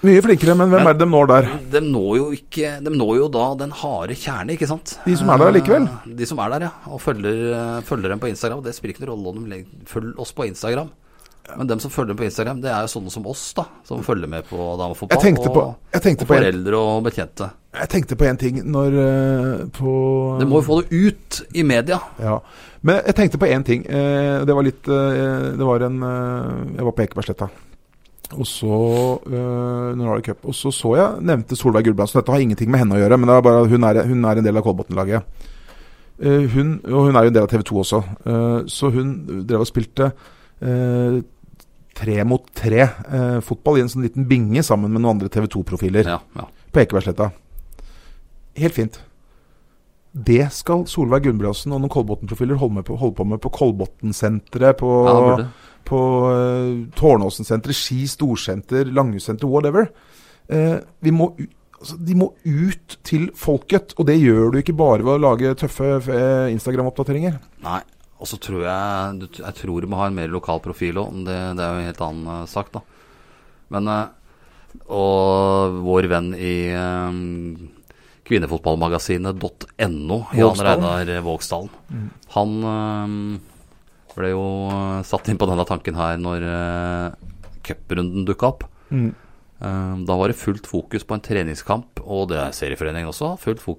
Speaker 3: Mye flinkere, men hvem
Speaker 2: Men-
Speaker 3: er det de når der?
Speaker 2: De når jo, ikke, de når jo da den harde kjerne, ikke sant?
Speaker 3: De som er der likevel?
Speaker 2: Eh, De som er der, ja. Og følger, eh, følger dem på Instagram. Det spiller ikke noen rolle om de leg- følger oss på Instagram. Men dem som følger dem på Instagram, det er jo sånne som oss, da. Som følger med på damefotball.
Speaker 3: Jeg tenkte
Speaker 2: og,
Speaker 3: på- jeg tenkte
Speaker 2: og
Speaker 3: på en-
Speaker 2: foreldre og betjente.
Speaker 3: Jeg tenkte på én ting når eh, på
Speaker 2: De må jo få det ut i media.
Speaker 3: Ja, Men jeg tenkte på én ting. Eh, det var litt eh, Det var en eh, Jeg var på Ekebergsletta. Og så eh, Når var det cup? Og så så jeg nevnte Solveig Gulbrandsen. Dette har ingenting med henne å gjøre, men det er bare, at hun, er, hun er en del av Kolbotn-laget. Eh, hun, og hun er jo en del av TV 2 også. Eh, så hun drev og spilte eh, tre mot tre eh, fotball i en sånn liten binge sammen med noen andre TV 2-profiler
Speaker 2: Ja, ja.
Speaker 3: på Ekebergsletta. Helt fint. Det skal Solveig Gunnbrandsen og noen Kolbotn-profiler holde, med på- holde på med på Kolbotn-senteret, på,
Speaker 2: ja det burde.
Speaker 3: på eh, Tårnåsen-senteret, Ski storsenter, Langhus-senter, whatever. Eh, vi må, u- altså, de må ut til folket, og det gjør du ikke bare ved å lage tøffe eh, Instagram-oppdateringer.
Speaker 2: Nei. Og så tror jeg du- Jeg tror du må ha en mer lokal profil òg, men det, det er jo en helt annen eh, sak, da. Men eh, Og vår venn i eh, kvinnefotballmagasinet.no, Jan
Speaker 3: Vågsdalen.
Speaker 2: Reinar Vågsdalen, han eh, ble jo eh, satt inn på denne tanken her når eh, cuprunden dukka opp. Eh, Da var det fullt fokus på en treningskamp, og det er serieforeningen også. Fullt fokus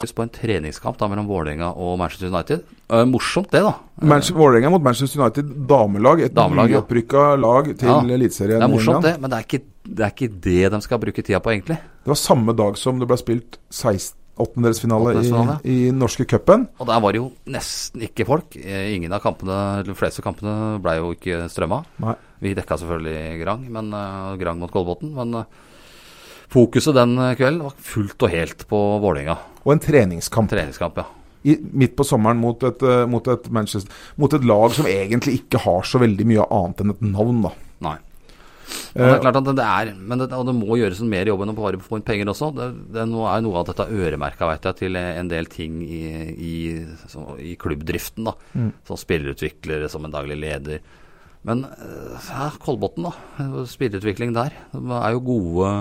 Speaker 2: på en treningskamp da mellom Vålerenga og Manchester United. Eh, Morsomt det, da.
Speaker 3: Manchester, Vålerenga mot Manchester United damelag. Et
Speaker 2: Damelag, ja.
Speaker 3: nyopprykka lag til
Speaker 2: Ja, Det
Speaker 3: Eliteserien.
Speaker 2: er
Speaker 3: i
Speaker 2: morsomt
Speaker 3: England.
Speaker 2: det, men det er ikke det, er ikke det de skal bruke tida på, egentlig.
Speaker 3: Det var samme dag som det ble spilt 16 åttendedelsfinale i,
Speaker 2: Åttendedelsfinale.
Speaker 3: i norske cupen.
Speaker 2: Og der var det jo nesten ikke folk. Eh, Ingen av kampene, eller de fleste kampene, ble jo ikke strømma.
Speaker 3: Nei.
Speaker 2: Vi dekka selvfølgelig Grang, men eh, Grang mot Kolbotn. Men eh, fokuset den eh, kvelden var fullt og helt på Vålerenga.
Speaker 3: Og en treningskamp
Speaker 2: Treningskamp, ja.
Speaker 3: i, midt på sommeren mot et, eh, mot, et Manchester, mot et lag som egentlig ikke har så veldig mye annet enn et navn, da.
Speaker 2: Nei. Og det er klart at det er, men det, og det må gjøres en mer jobb enn å bare få inn penger også. Det, det er noe- er noe av dette øremerka vet jeg, til en del ting i, i, så, i klubbdriften. da,
Speaker 3: Mm.
Speaker 2: Som spillerutviklere, som en daglig leder. Men eh, ja, Kolbotn, da. Spillerutvikling der. De er jo gode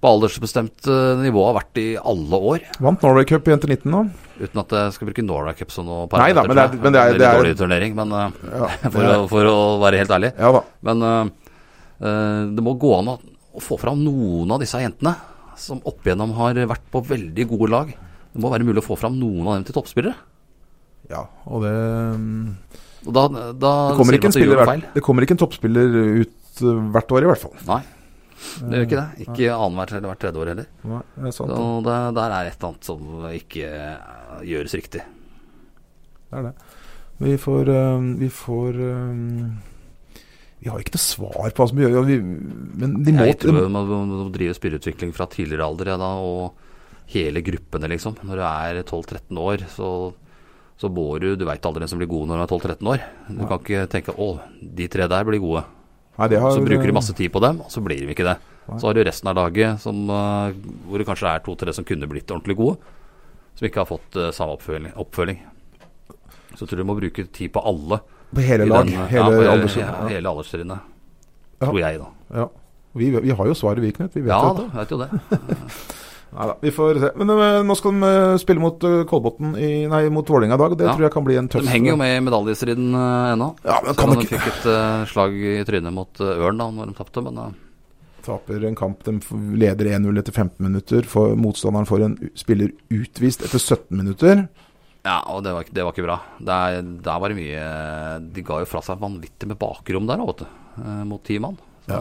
Speaker 2: på aldersbestemt eh, nivå, har vært i alle år.
Speaker 3: Vant Norway Cup i jenter 19 nå.
Speaker 2: Uten at jeg skal bruke Norway Cup som noe
Speaker 3: Nei da, men det er-
Speaker 2: tror jeg.
Speaker 3: men det er-
Speaker 2: veldig
Speaker 3: det
Speaker 2: dårlig turnering, men eh,
Speaker 3: Ja,
Speaker 2: for, å, for å være helt ærlig.
Speaker 3: Ja da.
Speaker 2: Men øh, øh, det må gå an å, å få fram noen av disse jentene som opp igjennom har vært på veldig gode lag. Det må være mulig å få fram noen av dem til toppspillere.
Speaker 3: Ja, og det mm,
Speaker 2: Og da, da
Speaker 3: Det
Speaker 2: sier man
Speaker 3: kommer, ikke en
Speaker 2: at du
Speaker 3: spiller,
Speaker 2: gjorde
Speaker 3: hvert- det kommer ikke en toppspiller ut eh, hvert år, i hvert fall.
Speaker 2: Nei, det gjør ikke
Speaker 3: Eh,
Speaker 2: det. Ikke annethvert eller hvert tredje år heller.
Speaker 3: Nei, det er sant.
Speaker 2: Så
Speaker 3: det.
Speaker 2: det, der er et eller annet som ikke øh, gjøres riktig.
Speaker 3: Det er det. Vi får eh, Vi får eh, Vi har jo ikke noe svar på hva som gjør og vi, Men de må
Speaker 2: Jeg tror man må- må drive spillerutvikling fra tidligere alder ja, da, og hele gruppene, liksom. Når du er 12-13 år, så, så bor du Du veit aldri hvem som blir gode når du er 12-13 år. Du kan ikke tenke 'Å, de tre der blir gode'.
Speaker 3: Nei, det har-
Speaker 2: Så bruker du masse tid på dem, og så blir de ikke det. Så har du resten av laget som, eh, hvor det kanskje er to-tre som kunne blitt ordentlig gode, som ikke har fått eh, samme oppfølging. oppfølging. Så jeg tror du må bruke tid på alle.
Speaker 3: På hele
Speaker 2: i
Speaker 3: lag.
Speaker 2: den- ja,
Speaker 3: hele
Speaker 2: på-
Speaker 3: alders-
Speaker 2: ja, hele alderstrinnet.
Speaker 3: Ja.
Speaker 2: Tror jeg, da.
Speaker 3: Ja. Vi, vi har jo svaret, vi, Knut. Vi vet
Speaker 2: Ja, da,
Speaker 3: dette.
Speaker 2: jeg vet jo det.
Speaker 3: Neida, vi får se. Men eh, nå skal de eh, spille mot eh, Kolbotn i Nei, mot Vålerenga i dag. Det
Speaker 2: Ja.
Speaker 3: tror jeg kan bli en tøff
Speaker 2: De henger jo med i medaljestriden eh, ennå.
Speaker 3: Ja, men
Speaker 2: Selv
Speaker 3: kan
Speaker 2: om de
Speaker 3: ikke
Speaker 2: fikk et eh, slag i trynet mot eh, Ørn da når de tapte. Men eh,
Speaker 3: Taper en kamp. De f- leder 1-0 etter 15 minutter. For motstanderen får en u- spiller utvist etter 17 minutter.
Speaker 2: ja, og det var, ikke- det var ikke bra. Der, der var det mye De ga jo fra seg vanvittig med bakrom der, vet du. eh, Mot ti mann. Så,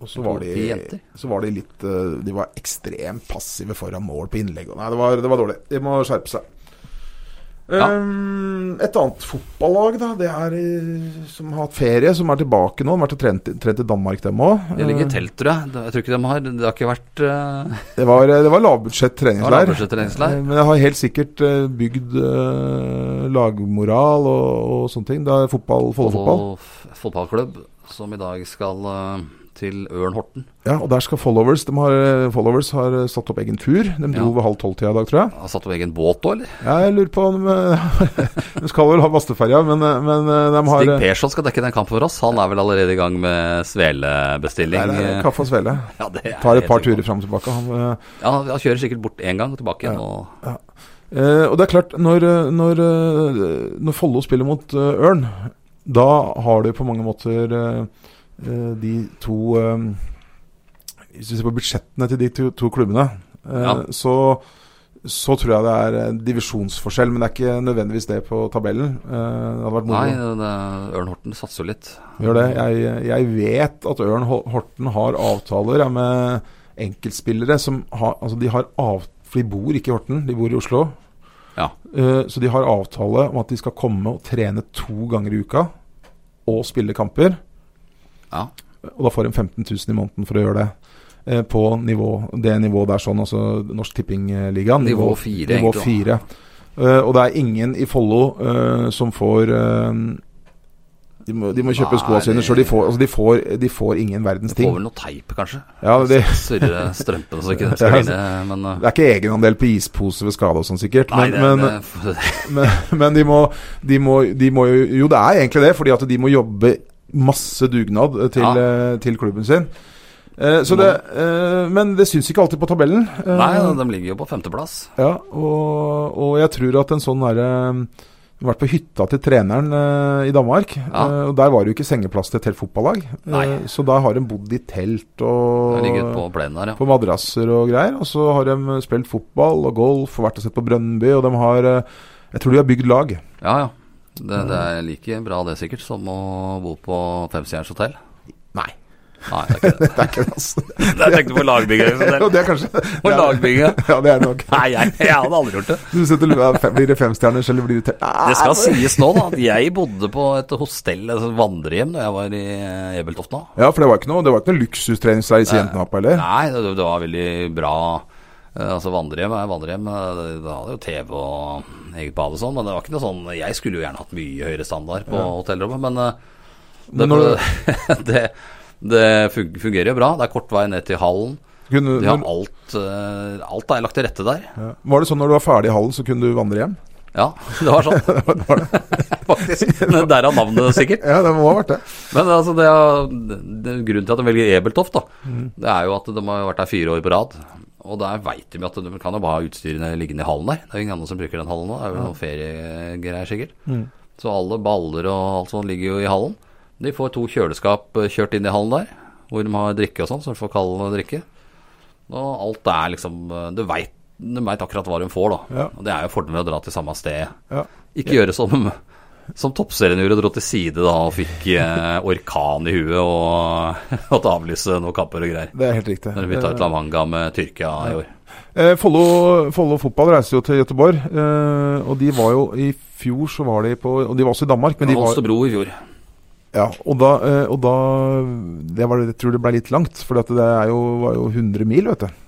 Speaker 3: Og så var,
Speaker 2: De
Speaker 3: de,
Speaker 2: jenter.
Speaker 3: så var de litt eh, De var ekstremt passive foran mål på innlegg. og Nei, det var, det var dårlig. De må skjerpe seg.
Speaker 2: Ja.
Speaker 3: Ehm, et annet fotballag da Det er eh, som har hatt ferie, som er tilbake nå. De har vært og trent, trent i Danmark, dem òg.
Speaker 2: De ligger i telt, tror jeg. Det- Jeg tror ikke de har Det har ikke vært eh,
Speaker 3: Det var, det var lavbudsjett
Speaker 2: det var
Speaker 3: treningsleir.
Speaker 2: lavbudsjettreningsleir.
Speaker 3: Eh, Men jeg har helt sikkert eh, bygd eh, lagmoral og, og sånne ting. Det er fotball,
Speaker 2: Follo
Speaker 3: Follo-fotball.
Speaker 2: f- fotballklubb som i dag skal eh, til Ørn Horten.
Speaker 3: Ja, og der skal followers de har, Followers har eh, satt opp egen tur. De dro
Speaker 2: Ja.
Speaker 3: ved halv tolv-tida i dag, tror jeg.
Speaker 2: Har satt opp egen båt òg, eller?
Speaker 3: Ja, Jeg lurer på om eh, De skal vel ha basteferja, men, eh, men eh, de har
Speaker 2: Stig
Speaker 3: eh,
Speaker 2: Persson skal dekke den kampen for oss. Han er vel allerede i gang med
Speaker 3: Nei,
Speaker 2: svelebestilling.
Speaker 3: det er kaffe og svele.
Speaker 2: Ja, eh, det er jeg
Speaker 3: Tar
Speaker 2: helt
Speaker 3: et par
Speaker 2: sikker på.
Speaker 3: turer fram og tilbake. Han, eh,
Speaker 2: Ja, han kjører sikkert bort én gang og tilbake igjen.
Speaker 3: Ja.
Speaker 2: Og
Speaker 3: Eh, og det er klart, når, eh, når, eh, når Follo spiller mot eh, Ørn, da har du på mange måter eh, eh, de to eh, Hvis du ser på budsjettene til de to, to klubbene, eh,
Speaker 2: Ja.
Speaker 3: så, så tror jeg det er eh, divisjonsforskjell. Men det er ikke nødvendigvis det på tabellen. Eh, det hadde vært
Speaker 2: nei,
Speaker 3: moro.
Speaker 2: det, Ørn Horten satser jo litt.
Speaker 3: Gjør det. Jeg, jeg vet at Ørn Ho- Horten har avtaler ja, med enkeltspillere som har Altså, de har av... For de bor ikke i Horten, de bor i Oslo.
Speaker 2: Ja.
Speaker 3: Eh, Så de har avtale om at de skal komme og trene to ganger i uka og spille kamper.
Speaker 2: Ja.
Speaker 3: Og da får de 15 000 i måneden for å gjøre det. Eh, På nivå, det nivået der, sånn, altså Norsk Tippingligaen.
Speaker 2: Nivå fire,
Speaker 3: Nivå
Speaker 2: egentlig, da.
Speaker 3: fire. Eh, Og det er ingen i Follo eh, som får eh, De må, de må kjøpe skoene
Speaker 2: Nei,
Speaker 3: sine,
Speaker 2: det-
Speaker 3: så de får, altså de, får, de får ingen verdens
Speaker 2: Får
Speaker 3: ting.
Speaker 2: vel noe teip, kanskje.
Speaker 3: Ja, de,
Speaker 2: Surre strømpene så ikke den skal
Speaker 3: Ja,
Speaker 2: glide. Men, eh,
Speaker 3: det er ikke egenandel på ispose ved skade og sånn, sikkert.
Speaker 2: nei,
Speaker 3: Men,
Speaker 2: det,
Speaker 3: men,
Speaker 2: det,
Speaker 3: men, men de, må, de, må, de må jo Jo, det er egentlig det, fordi at de må jobbe masse dugnad eh, til,
Speaker 2: Ja.
Speaker 3: eh, til klubben sin. Eh, så
Speaker 2: Må
Speaker 3: det, eh, men det syns ikke alltid på tabellen. Eh,
Speaker 2: nei, de ligger jo på femteplass.
Speaker 3: ja, og, og jeg tror at en sånn derre jeg har vært på hytta til treneren eh, i Danmark.
Speaker 2: Ja.
Speaker 3: eh, og Der var det jo ikke sengeplass til et helt fotballag. Eh,
Speaker 2: Nei.
Speaker 3: så der har de bodd i telt
Speaker 2: De
Speaker 3: og
Speaker 2: ligger på plenen her, ja.
Speaker 3: på madrasser og greier. Og så har de spilt fotball og golf og vært og sett på Brønnby, og de har eh, Jeg tror de har bygd lag.
Speaker 2: Ja, ja. Det, det er like bra det sikkert som å bo på femstjerners hotell.
Speaker 3: Nei.
Speaker 2: Nei, det er ikke det.
Speaker 3: Det er ikke det, altså.
Speaker 2: Jeg tenkte på lagbygget.
Speaker 3: Og det er kanskje
Speaker 2: På lagbygget.
Speaker 3: Ja, det er det nok.
Speaker 2: Nei, jeg, jeg hadde aldri gjort det.
Speaker 3: Du setter lua fem- Blir det femstjerners, eller blir det te- Ah,
Speaker 2: Det skal sies nå, da, at jeg bodde på et hostell, altså et sånt vandrehjem, da jeg var i eh, Ebeltoft nå.
Speaker 3: Ja, for det var ikke noe, det var ikke noe luksustreningsleir i Jentenapa, eller?
Speaker 2: Nei, det, det var veldig bra. Eh, Altså Vandrehjem er vandrehjem. eh, Det det hadde jo TV og eget bad og sånn, men det var ikke noe sånn Jeg skulle jo gjerne hatt mye høyere standard på hotellrommet, men eh, det,
Speaker 3: Men når
Speaker 2: det, det fun- fungerer jo bra. Det er kort vei ned til hallen.
Speaker 3: Kunne,
Speaker 2: De har alt, eh, alt er lagt til rette der.
Speaker 3: Ja. Var det sånn når du var ferdig i hallen, så kunne du vandre hjem?
Speaker 2: Ja, det var sånn,
Speaker 3: Var det?
Speaker 2: faktisk. Men Derav navnet, sikkert.
Speaker 3: Ja, det må ha vært det.
Speaker 2: Men altså, det er, det, grunnen til at de velger Ebeltoft, da, det er jo at de har vært der fire år på rad. Og der veit de jo at de kan jo bare ha utstyrene liggende i hallen der. Det er jo ingen andre som bruker den hallen nå. Det er jo noen feriegreier, sikkert. Så alle baller og alt sånt ligger jo i hallen. De får to kjøleskap eh, kjørt inn i hallen der, hvor de har drikke og sånn, så de får kald drikke. Og alt er liksom eh, Du veit de vet akkurat hva de får, da.
Speaker 3: Ja.
Speaker 2: Og det er jo fordelen med å dra til samme sted.
Speaker 3: Ja.
Speaker 2: Ikke gjøre som, som toppserien gjorde, dro til side da og fikk eh, orkan i huet og måtte avlyse noen kamper og greier.
Speaker 3: Det er helt riktig.
Speaker 2: Når de bytta ut La Manga med Tyrkia i år.
Speaker 3: Eh, Follo, Follo fotball reiser jo til Gøteborg, eh, og de var jo i fjor så var de på Og de var også i Danmark, men de var
Speaker 2: Holstebro i fjor.
Speaker 3: ja, og, da, eh, og da det var, Jeg tror det ble litt langt, for det er jo, var jo 100 mil, vet du.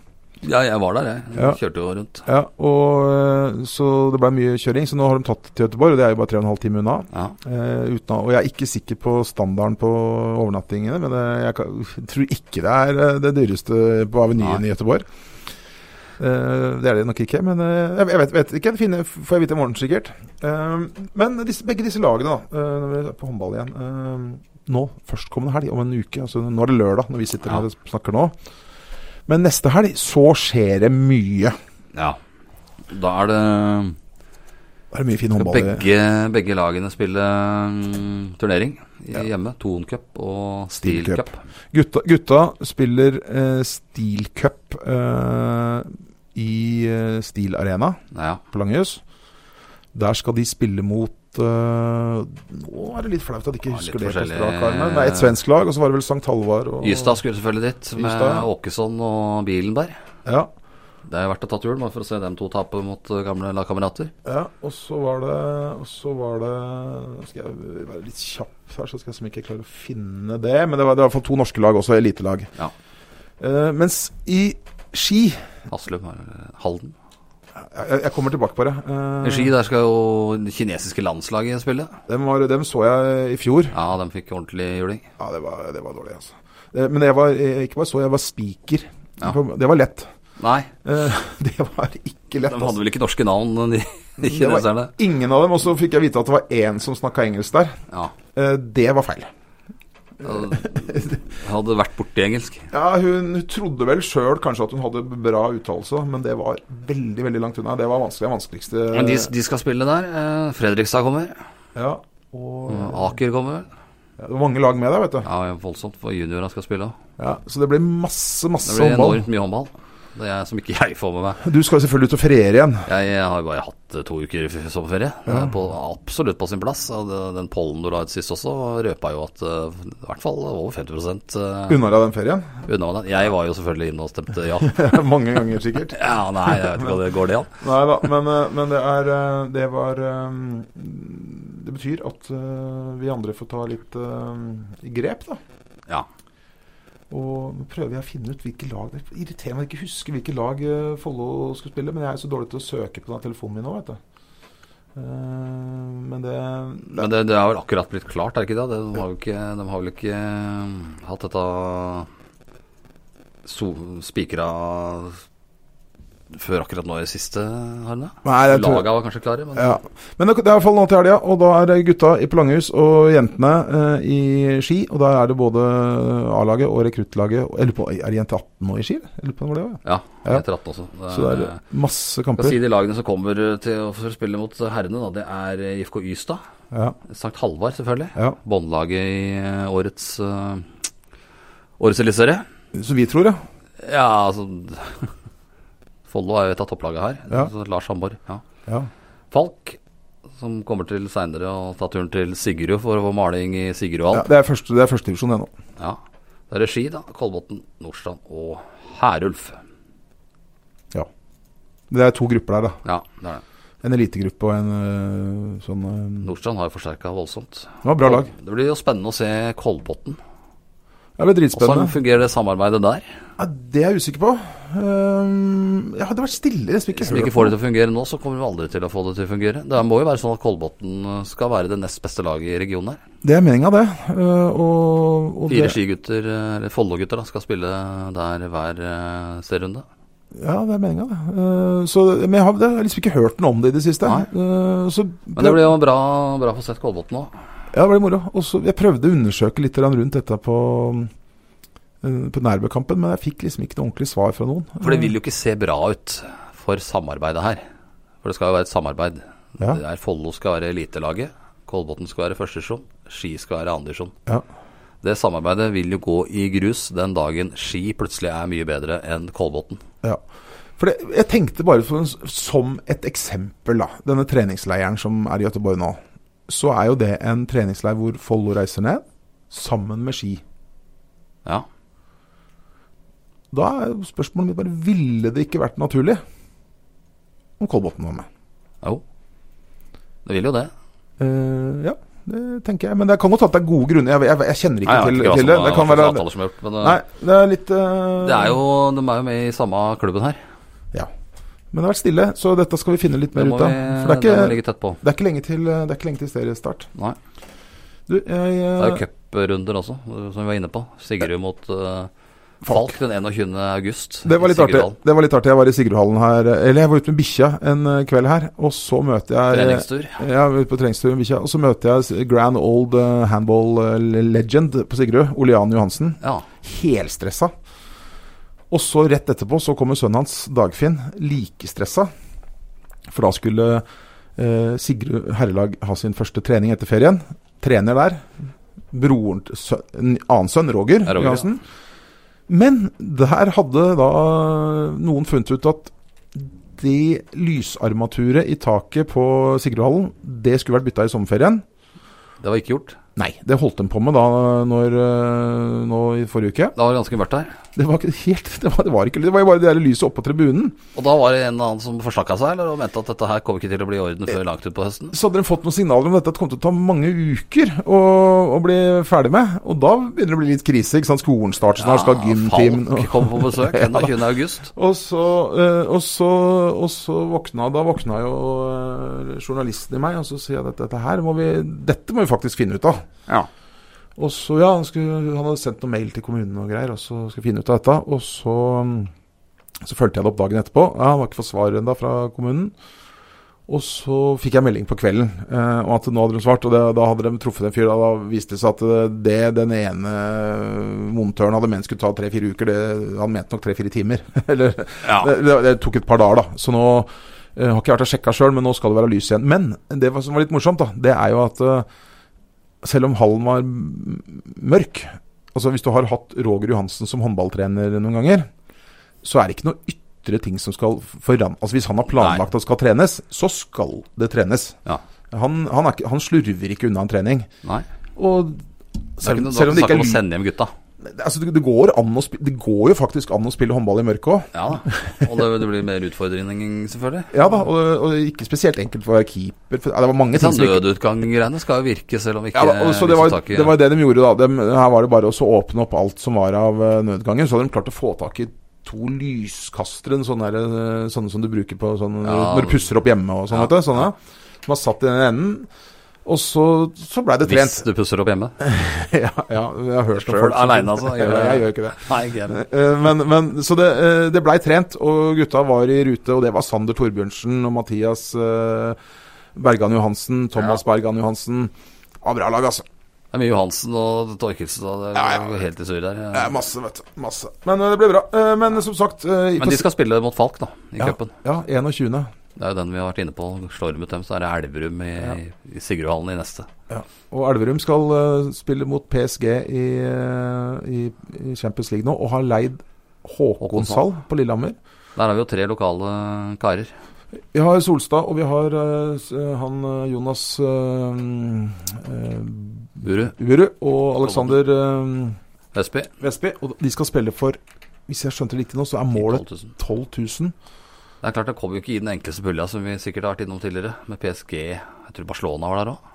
Speaker 2: Ja, jeg var der, jeg.
Speaker 3: Ja.
Speaker 2: Kjørte jo rundt.
Speaker 3: Ja, og eh, Så det ble mye kjøring, så nå har de tatt til Gøteborg, og det er jo bare 3,5 timer unna.
Speaker 2: Ja.
Speaker 3: Eh, uten, å- og jeg er ikke sikker på standarden på overnattingene, men eh, jeg kan, tror ikke det er eh, det dyreste på Avenyen
Speaker 2: Nei.
Speaker 3: i Gøteborg. Eh, det er det nok ikke, men eh, jeg, jeg vet, vet ikke. Det finner, får jeg vite i morgen, sikkert. Eh, men disse, begge disse lagene, da, eh, når vi er på håndball igjen eh, Nå, førstkommende helg, om en uke altså, Nå er det lørdag når vi sitter
Speaker 2: Ja.
Speaker 3: her og snakker nå. Men neste helg så skjer det mye.
Speaker 2: ja. Da er det
Speaker 3: Da er det mye fin håndball. i-
Speaker 2: begge, begge lagene spille mm, turnering i- hjemme. Thon Cup og Steel
Speaker 3: Steel Cup.
Speaker 2: Cup.
Speaker 3: Gutta, gutta spiller eh, Steel Cup eh, i eh, Steel Arena
Speaker 2: Ja.
Speaker 3: på Langhus. Der skal de spille mot eh, Nå er det litt flaut at jeg ikke
Speaker 2: Ja,
Speaker 3: husker
Speaker 2: litt
Speaker 3: det. på
Speaker 2: forskjellig-
Speaker 3: strak arm, men Det er et svensk lag, og så var det vel St. Halvard og
Speaker 2: Ystad skulle selvfølgelig dit, med
Speaker 3: Ystad, ja.
Speaker 2: Åkesson og Bilenberg.
Speaker 3: Ja,
Speaker 2: Det er verdt å ta turen bare for å se dem to tape mot eh, gamle lagkamerater.
Speaker 3: ja, og så var det Og så var det Nå skal jeg være litt kjapp her, så skal jeg som ikke klare å finne det. Men det var, det var i hvert fall to norske lag, også elitelag.
Speaker 2: Ja.
Speaker 3: Eh, mens i ski
Speaker 2: Haslum, eller eh, Halden.
Speaker 3: Jeg, jeg kommer tilbake på det. Eh,
Speaker 2: I Ski der skal jo det kinesiske landslaget spille.
Speaker 3: Dem, var, dem så jeg i fjor.
Speaker 2: Ja, de fikk ordentlig juling.
Speaker 3: Ja, det var, det var dårlig, altså. Eh, Men jeg var eh, ikke bare så, jeg var spiker.
Speaker 2: Ja.
Speaker 3: Det var lett.
Speaker 2: Nei,
Speaker 3: Eh, Det var
Speaker 2: de
Speaker 3: ikke lett.
Speaker 2: hadde
Speaker 3: Altså.
Speaker 2: vel ikke norske navn, de, de
Speaker 3: Det var
Speaker 2: kineserne.
Speaker 3: ingen av dem. Og så fikk jeg vite at det var én som snakka engelsk der.
Speaker 2: Ja.
Speaker 3: Eh, Det var feil.
Speaker 2: de Hadde vært borti engelsk.
Speaker 3: Ja, Hun trodde vel sjøl kanskje at hun hadde bra uttalelse, men det var veldig veldig langt unna. Det var vanskelig, det vanskeligste.
Speaker 2: Men de, de skal spille der. Eh, Fredrikstad kommer.
Speaker 3: Ja, og
Speaker 2: Eh, Aker kommer.
Speaker 3: ja, Det var mange lag med der, vet du.
Speaker 2: Ja, ja, voldsomt for juniorene skal spille òg.
Speaker 3: Ja, så det ble masse, masse
Speaker 2: Det blir
Speaker 3: håndball.
Speaker 2: enormt mye håndball. Det er som ikke jeg får med meg.
Speaker 3: Du skal jo selvfølgelig ut og feriere igjen.
Speaker 2: Jeg har jo bare hatt eh, to uker f- sommerferie. Det er På, absolutt på sin plass. Og det, den pollen du la ut sist også, røpa jo at eh, i hvert fall over 50 eh,
Speaker 3: Unna deg den ferien.
Speaker 2: unna den. Jeg var jo selvfølgelig inne og stemte ja.
Speaker 3: Mange ganger, sikkert.
Speaker 2: ja nei, jeg vet ikke hva det går det an.
Speaker 3: Nei da, men, eh, men det er eh, Det var eh, Det betyr at eh, vi andre får ta litt eh, grep, da.
Speaker 2: Ja.
Speaker 3: Og nå prøver jeg å finne ut hvilke lag Det er irriterende at jeg ikke husker hvilke lag eh, Follo skal spille, men jeg er så dårlig til å søke på den telefonen min nå, vet du. Eh, men det, det
Speaker 2: Men det, det er vel akkurat blitt klart, er det ikke det? De har, jo ikke, de har vel ikke eh, hatt dette so spikra før akkurat nå i det siste, har de det?
Speaker 3: Nei, jeg tror-
Speaker 2: Laga var kanskje klare, men
Speaker 3: Ja. Men det det er i hvert fall nå til helga, og da er det gutta i Polanghus og jentene eh, i ski. Og da er det både A-laget og rekruttlaget og- Eller på, er det jente 18 nå i ski? Eller på, var det, også?
Speaker 2: ja,
Speaker 3: Ja.
Speaker 2: etter 18 også. Det, eh,
Speaker 3: Så det er masse
Speaker 2: skal si
Speaker 3: kamper.
Speaker 2: de lagene som kommer til å få spille mot herrene, da. Det er eh, IFK Ystad.
Speaker 3: Ja,
Speaker 2: Sankt Halvard, selvfølgelig.
Speaker 3: ja.
Speaker 2: Båndlaget i eh, årets uh, Årets eliteserie.
Speaker 3: Så vi tror, ja.
Speaker 2: Ja, altså Follo er jo et av topplagene her.
Speaker 3: Ja.
Speaker 2: Så Lars Hamborg. Ja.
Speaker 3: ja.
Speaker 2: Falk, som kommer til seinere og tar turen til Sigrud for å få maling i
Speaker 3: ja
Speaker 2: Sigrudhallen.
Speaker 3: det er første, det er første divisjon ennå.
Speaker 2: Ja. Det er regi, da. Kolbotn, Nordstrand og Herulf.
Speaker 3: Ja. Det er to grupper der, da.
Speaker 2: Ja, det er det.
Speaker 3: En elitegruppe og en øh, sånn øh,
Speaker 2: Nordstrand har jo forsterka voldsomt.
Speaker 3: Det var bra lag.
Speaker 2: Det blir jo spennende å se Kolbotn.
Speaker 3: Det ble
Speaker 2: Hvordan
Speaker 3: dritspennende.
Speaker 2: fungerer det samarbeidet der?
Speaker 3: Ja, det er jeg usikker på. Ehm, ja, det har vært stille. Hvis vi ikke,
Speaker 2: Hvis vi ikke får det til å fungere nå, så kommer vi aldri til å få det til å fungere. Det må jo være sånn at Kolbotn skal være det nest beste laget i regionen her.
Speaker 3: Det er meninga, det. Eh, og, og
Speaker 2: Fire
Speaker 3: det
Speaker 2: skigutter, eh, eller Follo-gutter, da, skal spille der hver eh, serierunde.
Speaker 3: Ja, det er meninga, det. Eh, så, men jeg har, det, jeg har liksom ikke hørt noe om det i det siste.
Speaker 2: Nei.
Speaker 3: Eh, så,
Speaker 2: Men det blir jo bra, bra å få sett Kolbotn nå.
Speaker 3: Ja, det ble moro. Og så- jeg prøvde å undersøke litt grann rundt dette på, eh, på Nærbø-kampen, men jeg fikk liksom ikke noe ordentlig svar fra noen.
Speaker 2: For det vil jo ikke se bra ut for samarbeidet her. For det skal jo være et samarbeid.
Speaker 3: Ja.
Speaker 2: Det er Follo skal være elitelaget, Kolbotn skal være førstesjon, Ski skal være andredivisjon.
Speaker 3: Ja.
Speaker 2: Det samarbeidet vil jo gå i grus den dagen Ski plutselig er mye bedre enn Kolbotn.
Speaker 3: Ja. For det, jeg tenkte bare for, som et eksempel, da. Denne treningsleiren som er i Gøteborg nå. Så er jo det en treningsleir hvor Follo reiser ned, sammen med Ski.
Speaker 2: Ja.
Speaker 3: Da er jo spørsmålet mitt bare Ville det ikke vært naturlig om Kolbotn var med?
Speaker 2: Jo. Det vil jo det.
Speaker 3: Eh, ja, det tenker jeg. Men det kan godt hende det er gode grunner. Jeg, jeg, jeg kjenner ikke
Speaker 2: Nei, jeg vet
Speaker 3: til,
Speaker 2: ikke hva
Speaker 3: til det.
Speaker 2: som-
Speaker 3: Det
Speaker 2: hva
Speaker 3: kan
Speaker 2: slags
Speaker 3: være
Speaker 2: avtaler som er gjort, men eh,
Speaker 3: Nei, det er litt eh,
Speaker 2: det er jo, de er jo med i samme klubben her.
Speaker 3: Ja. Men det har vært stille, så dette skal vi finne litt
Speaker 2: Det
Speaker 3: mer
Speaker 2: må,
Speaker 3: ut av. For
Speaker 2: vi,
Speaker 3: det
Speaker 2: det må
Speaker 3: er
Speaker 2: ligge
Speaker 3: ikke,
Speaker 2: tett på.
Speaker 3: det er ikke lenge til, eh, det er ikke lenge til seriestart.
Speaker 2: Nei.
Speaker 3: Du, jeg
Speaker 2: Det er
Speaker 3: eh,
Speaker 2: jo cuprunder også, som vi var inne på. Sigrud mot eh,
Speaker 3: Falk.
Speaker 2: Falk den 21. august.
Speaker 3: Det var
Speaker 2: i
Speaker 3: litt artig.
Speaker 2: Sigurdal.
Speaker 3: Det var litt artig. Jeg var i Sigrudhallen her Eller jeg var ute med bikkja en eh, kveld her, og så møter jeg
Speaker 2: Treningstur.
Speaker 3: Ja, vi var ute på treningstur med bikkja, og så møter jeg s- grand old eh, handball eh, legend på Sigrud, Olean Johansen.
Speaker 2: Ja.
Speaker 3: Helstressa. Og så rett etterpå så kommer sønnen hans, Dagfinn, likestressa. For da skulle eh, Sigrud herrelag ha sin første trening etter ferien. Trener der. Broren til sø- en annen sønn, Roger,
Speaker 2: Ja, Roger,
Speaker 3: Johansen. Men der hadde da noen funnet ut at det lysarmaturet i taket på Sigrudhallen, det skulle vært bytta i sommerferien.
Speaker 2: Det var ikke gjort.
Speaker 3: Nei, det holdt de på med da når, eh, nå i forrige uke.
Speaker 2: Da var det ganske mørkt her.
Speaker 3: Det var ikke helt Det var, det var, ikke, det var jo bare det der lyset oppå tribunen.
Speaker 2: Og da var det en annen som forsnakka seg, eller og mente at dette her kommer ikke til å bli i orden før langt utpå høsten.
Speaker 3: Så hadde de fått noen signaler om dette at det kom til å ta mange uker å, å bli ferdig med. Og da begynner det å bli litt krise. ikke sant? Skolen starter snart, skal ha gymteam
Speaker 2: Falk kom på besøk
Speaker 3: Ja, da.
Speaker 2: 21. august.
Speaker 3: Og så, eh, og, så, og så våkna Da våkna jo eh, journalisten i meg, og så sier jeg at dette her må vi Dette må vi faktisk finne ut av.
Speaker 1: Ja.
Speaker 3: Og så, ja, han, skulle, han hadde sendt noen mail til kommunen og greier, og så skulle jeg finne ut av dette. Og så, mm, så fulgte jeg det opp dagen etterpå. Ja, han var ikke fått svar ennå fra kommunen. Og så fikk jeg melding på kvelden eh, om at nå hadde de svart, og det, da hadde de truffet en fyr. Da, da viste det seg at det den ene montøren hadde ment skulle ta tre-fire uker, det, han mente nok tre-fire timer. Eller,
Speaker 2: Ja.
Speaker 3: det, det, det tok et par dager, da. Så nå eh, har ikke jeg vært og sjekka sjøl, men nå skal det være lys igjen. Men det var, som var litt morsomt, da, det er jo at eh, selv om hallen var m- mørk Altså Hvis du har hatt Roger Johansen som håndballtrener noen ganger, så er det ikke noe ytre ting som skal foran... Altså Hvis han har planlagt at det skal trenes, så skal det trenes.
Speaker 2: Ja.
Speaker 3: Han, han, er ikke, han slurver ikke unna en trening.
Speaker 2: Nei.
Speaker 3: Og
Speaker 2: Det er ikke
Speaker 3: selv,
Speaker 2: noe
Speaker 3: selv om det
Speaker 2: snakk
Speaker 3: ikke er
Speaker 2: om å
Speaker 3: lyd
Speaker 2: sende hjem gutta.
Speaker 3: altså, det, det, går an å spi- det går jo faktisk an å spille håndball i mørket òg.
Speaker 2: Ja da. Og det, det blir mer utfordring, selvfølgelig.
Speaker 3: Ja da, og, og ikke spesielt enkelt for å være keeper. For, ja, det var mange
Speaker 2: Disse
Speaker 3: ting som ikke
Speaker 2: nødutgang-greiene Sånn skal jo virke, selv om ikke
Speaker 3: ja, da, og så det,
Speaker 2: liksom
Speaker 3: var,
Speaker 2: taket-
Speaker 3: det var det de gjorde, da. Dem- her var det bare å så åpne opp alt som var av eh, nødutgangen. Så hadde de klart å få tak i to lyskastere, en sånn der, eh, sånne som du bruker på sånn,
Speaker 2: Ja.
Speaker 3: når du pusser opp hjemme og sånn. vet du, Sånne. som har satt i den enden. Og så, så blei det
Speaker 2: Hvis
Speaker 3: trent.
Speaker 2: du pusser opp hjemme.
Speaker 3: ja, ja, jeg har hørt
Speaker 2: Står folk alene, altså? Gjør det.
Speaker 3: jeg gjør ikke det.
Speaker 2: Nei, ikke
Speaker 3: Eh, Men, men, så det, eh, det blei trent, og gutta var i rute. Og det var Sander Torbjørnsen og Mathias eh, Bergan Johansen. Thomas Bergan Johansen. Ja, bra lag, altså.
Speaker 2: Det er mye Johansen og Torkelsen og det
Speaker 3: Ja,
Speaker 2: er
Speaker 3: ja.
Speaker 2: jo helt i surr der.
Speaker 3: Eh, masse, vet du. Masse. Men eh, det ble bra. Eh, men som sagt eh,
Speaker 2: Men de skal spille mot Falk, da, i
Speaker 3: ja,
Speaker 2: cupen.
Speaker 3: ja, 21.
Speaker 2: Det er jo den vi har vært inne på. Slår de ut dem, så er det Elverum i, i Sigrudhallen i neste.
Speaker 3: Og Elverum skal eh, spille mot PSG i, eh, i, i Champions League nå, og har leid
Speaker 2: Håkon
Speaker 3: Håkonshall
Speaker 2: Sall.
Speaker 3: på Lillehammer.
Speaker 2: Der er vi jo tre lokale karer.
Speaker 3: Vi har Solstad, og vi har eh, s- han eh, Jonas uh,
Speaker 2: Buru,
Speaker 3: Uru og Alexander eh,
Speaker 2: Vestby.
Speaker 3: Vestby. Og de skal spille for, hvis jeg skjønte det riktig nå, så er
Speaker 2: 10
Speaker 3: målet
Speaker 2: 12 000.
Speaker 3: 12 000.
Speaker 2: Det er klart det kommer jo ikke i den enkleste pulja som vi sikkert har vært innom tidligere, med PSG. Jeg tror Barcelona var der òg.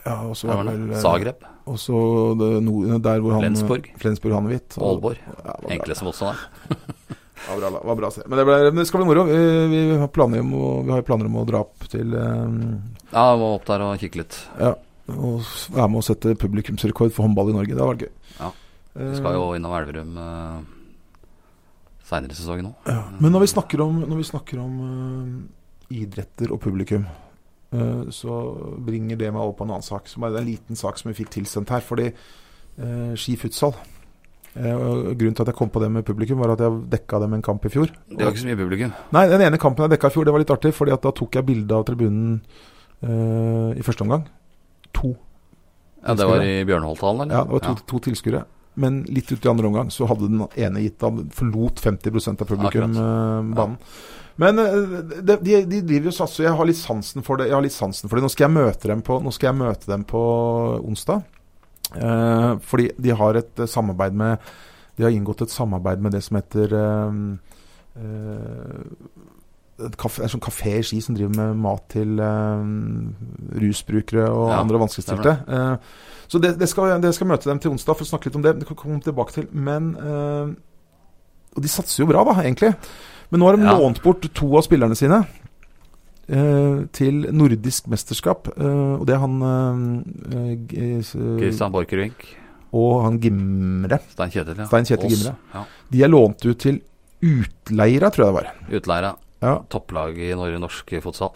Speaker 3: Ja, og så er vel, eh,
Speaker 2: Zagreb,
Speaker 3: Og så det nord- der hvor han
Speaker 2: Flensburg.
Speaker 3: Flensburg Hanevit. og-
Speaker 2: Aalborg.
Speaker 3: Ja, det var bra.
Speaker 2: Enkleste motstander.
Speaker 3: Ja, bra, la- var bra å se. Men det, ble, men det skal bli moro. Eh, Vi har planer om å, vi har planer om å dra opp til eh,
Speaker 2: Ja, jeg må opp der og kikke litt.
Speaker 3: Ja. Og s- være med å sette publikumsrekord for håndball i Norge. Det hadde vært gøy.
Speaker 2: Ja.
Speaker 3: Eh,
Speaker 2: Vi skal jo innom Elverum uh, seinere i sesongen òg.
Speaker 3: Eh, Ja, men når vi snakker om, når vi snakker om eh, idretter og publikum, eh, så bringer det meg over på en annen sak. Som er en liten sak som vi fikk tilsendt her. Fordi uh, skifutsal Eh, og grunnen til at jeg kom på det med publikum, var at jeg dekka dem en kamp i fjor.
Speaker 2: Det var ikke så mye publikum.
Speaker 3: Nei, den ene kampen jeg dekka i fjor, det var litt artig. Fordi at da tok jeg bilde av tribunen eh, i første omgang. To.
Speaker 2: Ja, Det var i Bjørnholthallen, eller?
Speaker 3: Ja, det var to, to tilskuere. Men litt ut i andre omgang så hadde den ene gitt av forlot 50 av publikum eh, banen. Men eh, de, de, de driver jo og satser. Jeg har litt sansen for det. Jeg har litt sansen for det. Nå skal jeg møte dem på, nå skal jeg møte dem på onsdag. Eh, fordi de har et eh, samarbeid med De har inngått et samarbeid med det som heter eh, eh, et kafé, en sånn kafé i Ski som driver med mat til eh, rusbrukere og
Speaker 2: Ja,
Speaker 3: andre vanskeligstilte. Eh, så det, det, skal, det skal møte dem til onsdag for å snakke litt om det. Det kan vi komme tilbake til. Men eh, Og de satser jo bra, da, egentlig. Men nå har de
Speaker 2: Ja.
Speaker 3: lånt bort to av spillerne sine eh, til nordisk mesterskap. eh, og det er han eh, G- eh, s-
Speaker 2: Christian Borchgrevink.
Speaker 3: Og han Gimre.
Speaker 2: Stein Kjetil, ja.
Speaker 3: Stein Kjetil
Speaker 2: Ås.
Speaker 3: Gimre.
Speaker 2: Ja.
Speaker 3: De er lånt ut til Utleira, tror jeg det var.
Speaker 2: Utleira.
Speaker 3: Ja.
Speaker 2: Topplag i Norge, norsk fotsal.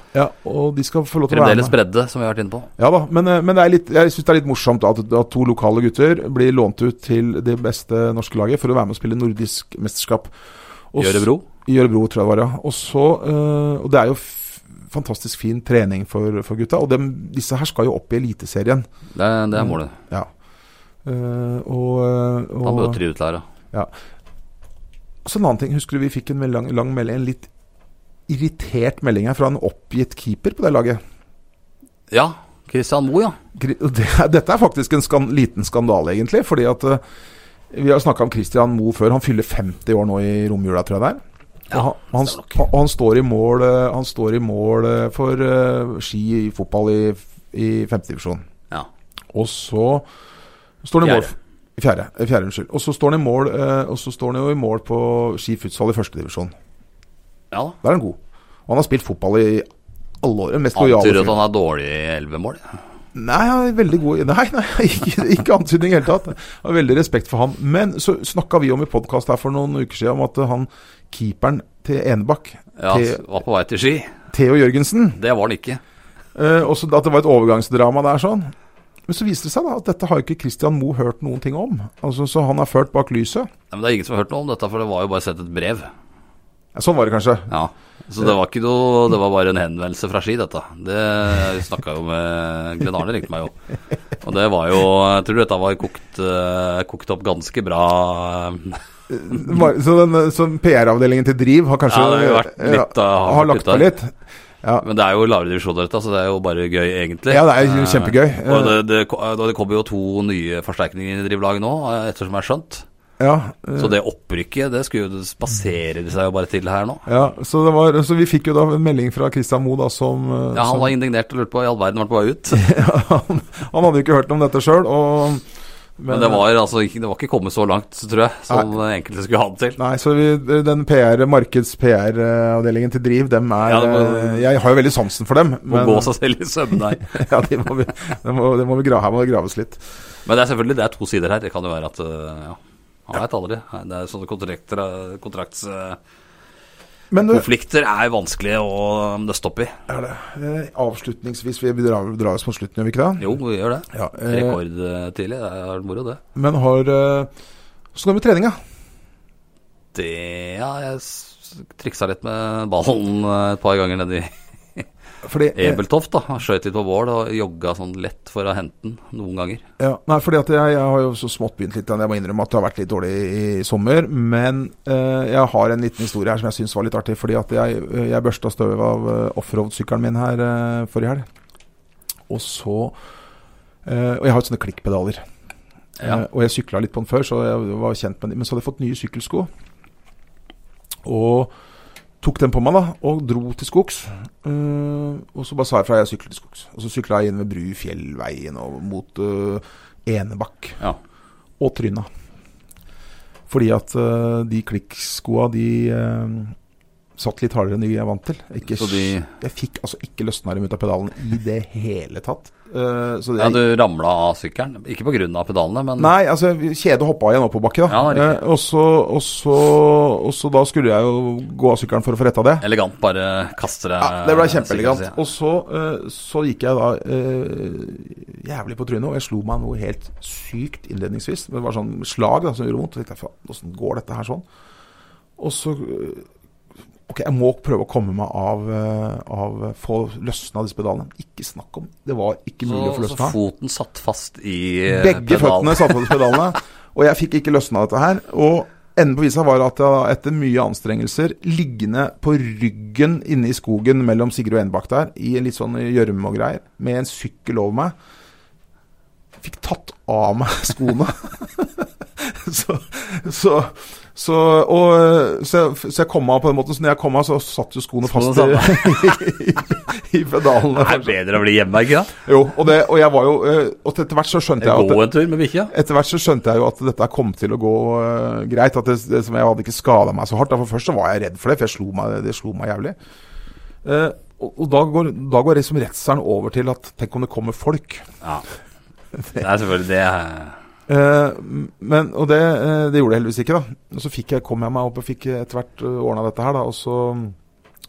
Speaker 3: Og de skal få lov til å være
Speaker 2: Fremdeles
Speaker 3: med.
Speaker 2: bredde, som vi har vært inne på.
Speaker 3: Ja da, men, eh, men det er litt, jeg syns det er litt morsomt at, at to lokale gutter blir lånt ut til det beste norske laget for å være med og spille nordisk mesterskap. Og
Speaker 2: I
Speaker 3: s-
Speaker 2: Ørebro.
Speaker 3: I Ørebro, tror jeg det var, ja. Og, så, eh, og det er jo f fantastisk fin trening for, for gutta. Og dem, disse her skal jo opp i Eliteserien.
Speaker 2: Det, det
Speaker 3: Mm.
Speaker 2: er målet.
Speaker 3: Ja. Eh, og, eh,
Speaker 2: Da
Speaker 3: og
Speaker 2: møter de utleira.
Speaker 3: Så en annen ting, husker du vi fikk en mel- lang, lang melding, en litt irritert melding her fra en oppgitt keeper på det laget.
Speaker 2: Ja, Christian Moe, ja.
Speaker 3: Gri- og Det, er- dette er faktisk en skan, liten skandale, egentlig. Fordi at eh, vi har snakka om Christian Moe før. Han fyller 50 år nå i romjula, tror jeg det er. Og han, og han,
Speaker 2: stemmer
Speaker 3: og han står i mål, eh, han står i mål eh, for eh, ski i fotball i, i femtedivisjon.
Speaker 2: ja.
Speaker 3: Og så står han i mål
Speaker 2: Fjerde.
Speaker 3: i Fjerde, eh, fjerde unnskyld. Og så står han i mål eh, Og så står han jo i mål på ski futsal i førstedivisjon.
Speaker 2: Ja da.
Speaker 3: Der er han god. Og han har spilt fotball i alle år. Den Mest lojale
Speaker 2: Antyder at
Speaker 3: fyren.
Speaker 2: han er dårlig i elleve mål.
Speaker 3: Nei, han er veldig god i- Nei, nei ikke, ikke antydning i det hele tatt. Jeg har veldig respekt for han. Men så snakka vi om i podkast her for noen uker siden om at eh, han keeperen til Enebakk,
Speaker 2: Ja,
Speaker 3: Theo-
Speaker 2: s- Var på vei til ski.
Speaker 3: Theo Jørgensen
Speaker 2: Det var han ikke.
Speaker 3: eh, Også at det var et overgangsdrama der sånn. Men så viser det seg da at dette har jo ikke Christian Moe hørt noen ting om. Altså, Så han er ført bak lyset.
Speaker 2: Nei, men Det er ingen som har hørt noe om dette, for det var jo bare sett et brev.
Speaker 3: Ja, sånn var det kanskje.
Speaker 2: Ja, Så det var ikke noe Det var bare en henvendelse fra ski, dette. Det snakka jo med Glenn Arne, ringte meg jo. Og det var jo Jeg tror dette var kokt, eh, kokt opp ganske bra.
Speaker 3: Det var- Så, den, eh, så PR-avdelingen til Driv har kanskje
Speaker 2: Ja, det har jo vært litt,
Speaker 3: ja,
Speaker 2: eh,
Speaker 3: har lagt på
Speaker 2: hardt
Speaker 3: litt.
Speaker 2: Men det er jo lavere divisjon, dette, så det er jo bare gøy, egentlig.
Speaker 3: Ja, det er jo kjempegøy.
Speaker 2: Eh, Og det, det, ko- eh, det kommer jo to nye forsterkninger inn i drivlaget nå, eh, ettersom jeg har skjønt.
Speaker 3: Ja, eh,
Speaker 2: Så det opprykket, det skulle jo det spaserer de seg jo bare til her nå.
Speaker 3: ja, så, det var, så vi fikk jo da en melding fra Christian Moe da som eh,
Speaker 2: Ja, Han
Speaker 3: som-
Speaker 2: var indignert og lurte på i all verden var han på vei ut.
Speaker 3: han, han hadde jo ikke hørt om dette sjøl, og
Speaker 2: Men det var, altså, ikke- det var ikke kommet så langt, tror jeg, som enkelte skulle ha det til.
Speaker 3: Nei, så vi, den PR, markeds-PR-avdelingen eh, til Driv, dem er
Speaker 2: Ja, det må-
Speaker 3: eh, Jeg har jo veldig sansen for dem.
Speaker 2: Må gå seg selv i søvn, nei.
Speaker 3: ja, det må, vi, det må, det må vi gra, her må det graves litt.
Speaker 2: Men det er selvfølgelig det er to sider her. Det kan jo være at øh, ja, man veit aldri. Det er sånne kontrakter, øh, kontraktskonflikter
Speaker 3: Men du,
Speaker 2: er vanskelige å øh, nøste opp i.
Speaker 3: eh, avslutningsvis, vi drar, drar oss mot slutten, gjør vi ikke det?
Speaker 2: Jo, vi gjør det.
Speaker 3: Ja, eh,
Speaker 2: Rekordtidlig. Det er moro, det.
Speaker 3: men har eh, Åssen går det med treninga?
Speaker 2: Det Ja, jeg s- triksa litt med ballen øh, et par ganger nedi
Speaker 3: Fordi, eh,
Speaker 2: Ebeltoft. da Skjøt litt på Vål og jogga sånn lett for å hente den noen ganger.
Speaker 3: ja, nei, fordi at jeg, jeg har jo så smått begynt litt. Jeg må innrømme at det har vært litt dårlig i, i sommer. Men eh, jeg har en liten historie her som jeg syns var litt artig. Fordi at jeg, eh, jeg børsta støv av eh, offroad-sykkelen min her eh, forrige helg. Og så eh, Og jeg har jo sånne klikkpedaler.
Speaker 2: Ja.
Speaker 3: Eh, og jeg sykla litt på den før, så jeg var kjent med den. Men så hadde jeg fått nye sykkelsko. Og tok den på meg, da, og dro til skogs. Eh, og så bare sa jeg fra jeg sykler til skogs. Og så sykla jeg inn ved Bru fjellveien og mot eh, Enebakk
Speaker 2: Ja.
Speaker 3: og Tryna. Fordi at eh, de klikkskoa, de eh, satt litt hardere enn de jeg er vant til. Ikke,
Speaker 2: Så de-
Speaker 3: Jeg fikk altså ikke løsna dem ut av pedalen i det hele tatt. Eh, så det,
Speaker 2: ja, du ramla av sykkelen. Ikke pga. pedalene, men
Speaker 3: Nei, altså kjedet hoppa i en oppoverbakke, da.
Speaker 2: Ja, det er riktig.
Speaker 3: Eh, og, så, og, så, og så da skulle jeg jo gå av sykkelen for å få retta det.
Speaker 2: elegant bare eh, kaste det.
Speaker 3: Ja, det ble
Speaker 2: sikkerhetssida.
Speaker 3: kjempeelegant. Og så, eh, så gikk jeg da eh, jævlig på trynet, og jeg slo meg noe helt sykt innledningsvis. Det var sånn slag da, som gjorde vondt. Så tenkte jeg faen, åssen går dette her sånn? Og så eh, Ok, jeg må prøve å komme meg av, eh, av Få løsna disse pedalene. Ikke snakk om. Det var ikke mulig å få
Speaker 2: Så,
Speaker 3: løsna.
Speaker 2: så foten satt fast i eh,
Speaker 3: Begge
Speaker 2: pedalen.
Speaker 3: føttene satt på pedalene, og jeg fikk ikke løsna dette her. Og enden på visa var at jeg da, etter mye anstrengelser, liggende på ryggen inne i skogen mellom Sigrid og Enebakk der, i litt sånn gjørme og greier, med en sykkel over meg, fikk tatt av meg skoene. så, så, så, og, så, jeg- så jeg kom av på den måten. Så når jeg kom av, så satt jo skoene fast
Speaker 2: Skoene
Speaker 3: i, i, i pedalene.
Speaker 2: Det er bedre å bli hjemme, ikke sant?
Speaker 3: Jo, og, det, og jeg var jo eh, Og etter hvert så skjønte jeg at
Speaker 2: Gå en tur med bikkja.
Speaker 3: etter hvert så skjønte jeg jo at dette kom til å gå øh, greit. At det, det, som jeg hadde ikke skada meg så hardt. Da, for først så var jeg redd for det, for jeg slo meg, det slo meg jævlig. Eh, og, og da går, da går liksom redselen over til at tenk om det kommer folk.
Speaker 2: Ja. Det er selvfølgelig det eh,
Speaker 3: Eh, men, og det, eh, det gjorde jeg heldigvis ikke, da. Og så fikk jeg, kom jeg meg opp og fikk etter hvert eh, ordna dette her, da. Og så mm,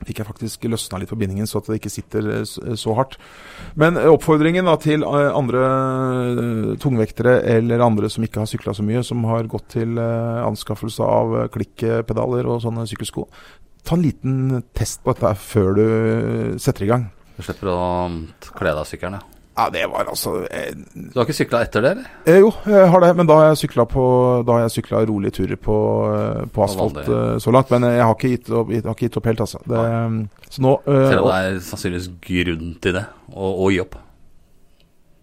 Speaker 3: fikk jeg faktisk løsna litt på bindingen, så at det ikke sitter eh, s- så hardt. Men eh, oppfordringen da til eh, andre eh, tungvektere eller andre som ikke har sykla så mye, som har gått til eh, anskaffelse av eh, klikkpedaler og sånne sykkelsko, ta en liten test på dette her før du eh, setter i gang.
Speaker 2: Du slipper å mm, kle deg av sykkelen, ja.
Speaker 3: Ja, det var altså eh,
Speaker 2: Du har ikke sykla etter det, eller?
Speaker 3: Eh, jo, jeg har det, men da har jeg sykla på Da har jeg sykla rolige turer på, eh, på asfalt
Speaker 2: vanlig.
Speaker 3: eh, så langt. Men eh, jeg har ikke gitt opp, jeg har ikke gitt opp helt, altså. Det, så nå eh,
Speaker 2: Selv om det er sannsynligvis grunn til det, å, å gi opp.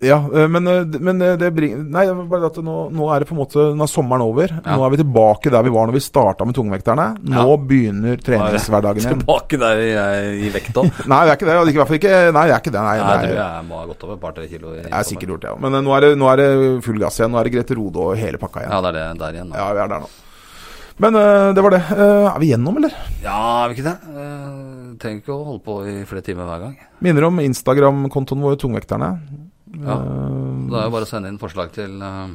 Speaker 3: Ja, eh, men, eh, d- men eh, det bringer Nei, det var bare at nå, nå er det på en måte Nå er sommeren over.
Speaker 2: Ja.
Speaker 3: Nå er vi tilbake der vi var når vi starta med tungvekterne. Nå
Speaker 2: Ja.
Speaker 3: begynner treningshverdagen igjen.
Speaker 2: Tilbake der jeg i vekta.
Speaker 3: Nei, det er ikke det. og det er I hvert fall ikke Nei, det er ikke det. Nei,
Speaker 2: Jeg
Speaker 3: det er-
Speaker 2: tror jeg må ha gått over et par-tre kilo. I
Speaker 3: det er sikkert gjort, ja. Men eh, nå er, det, nå er det full gass igjen. Nå er det Grete Rode og hele pakka igjen.
Speaker 2: Ja, det er det der igjen. Da.
Speaker 3: Ja, vi er der nå. Men eh, det var det. Eh, er vi gjennom, eller?
Speaker 2: Ja, er vi ikke det? Eh, trenger ikke å holde på i flere timer hver gang.
Speaker 3: Minner om Instagram-kontoen vår, Tungvekterne.
Speaker 2: Ja.
Speaker 3: Eh,
Speaker 2: Da er det bare å sende inn forslag til eh,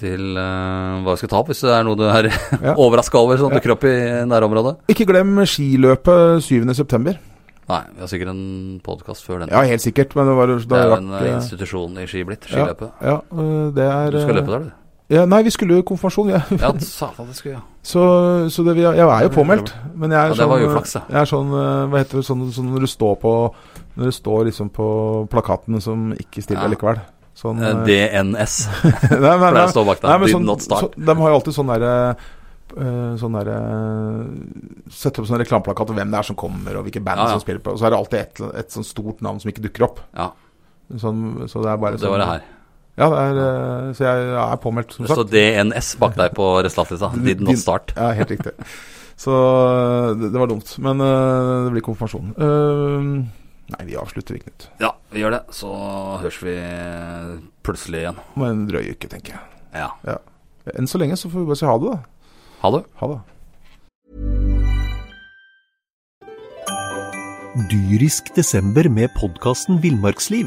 Speaker 2: Til eh, hva vi skal ta opp, hvis det er noe du er
Speaker 3: Ja.
Speaker 2: overraska over som dukker opp i nærområdet.
Speaker 3: ikke glem skiløpet 7.9.
Speaker 2: Nei, vi har sikkert en podkast før den.
Speaker 3: Ja, helt sikkert, men det var da
Speaker 2: det er jo en
Speaker 3: rakk, eh,
Speaker 2: institusjon i ski blitt, skiløpet.
Speaker 3: Ja, eh, det er
Speaker 2: Du skal
Speaker 3: eh,
Speaker 2: løpe der, du?
Speaker 3: Ja, nei, vi skulle jo konfirmasjon, ja.
Speaker 2: Ja, satan, det skulle jeg.
Speaker 3: så, så det, vi- jeg er jo påmeldt. Men jeg er
Speaker 2: Ja, det
Speaker 3: sånn,
Speaker 2: var
Speaker 3: eh,
Speaker 2: uflaks, da.
Speaker 3: jeg er sånn eh, Hva heter det sånn, sånn når du står på Når du står liksom på plakatene som ikke stiller
Speaker 2: Ja.
Speaker 3: likevel. Sånn,
Speaker 2: Eh,
Speaker 3: eh,
Speaker 2: DNS,
Speaker 3: nei, nei,
Speaker 2: for
Speaker 3: nei.
Speaker 2: det står bak
Speaker 3: Nei,
Speaker 2: der.
Speaker 3: men
Speaker 2: Did
Speaker 3: sånn,
Speaker 2: not
Speaker 3: så,
Speaker 2: start.
Speaker 3: de har jo alltid sånn derre eh, Sånn derre Sette opp sånn reklameplakat om hvem det er som kommer, og hvilke band
Speaker 2: Ja, ja.
Speaker 3: som spiller på. Og så er det alltid et, et sånn stort navn som ikke dukker opp.
Speaker 2: Ja,
Speaker 3: Sånn, så det er bare
Speaker 2: det var det her.
Speaker 3: Ja, det er, eh, så jeg er påmeldt, som
Speaker 2: Det står
Speaker 3: sagt.
Speaker 2: DNS bak deg på resultatlista. Did
Speaker 3: Din-
Speaker 2: not start.
Speaker 3: Ja, helt riktig. Så eh, det, det var dumt. Men eh, det blir konfirmasjon. Eh, nei, vi avslutter, vi, Knut.
Speaker 2: Ja, Vi gjør det, så høres vi plutselig igjen.
Speaker 3: Om en drøy uke, tenker jeg.
Speaker 2: Ja.
Speaker 3: Enn så lenge så får vi bare si ha det, da.
Speaker 2: Ha det.
Speaker 3: Ha det.
Speaker 4: Dyrisk desember med podkasten Villmarksliv.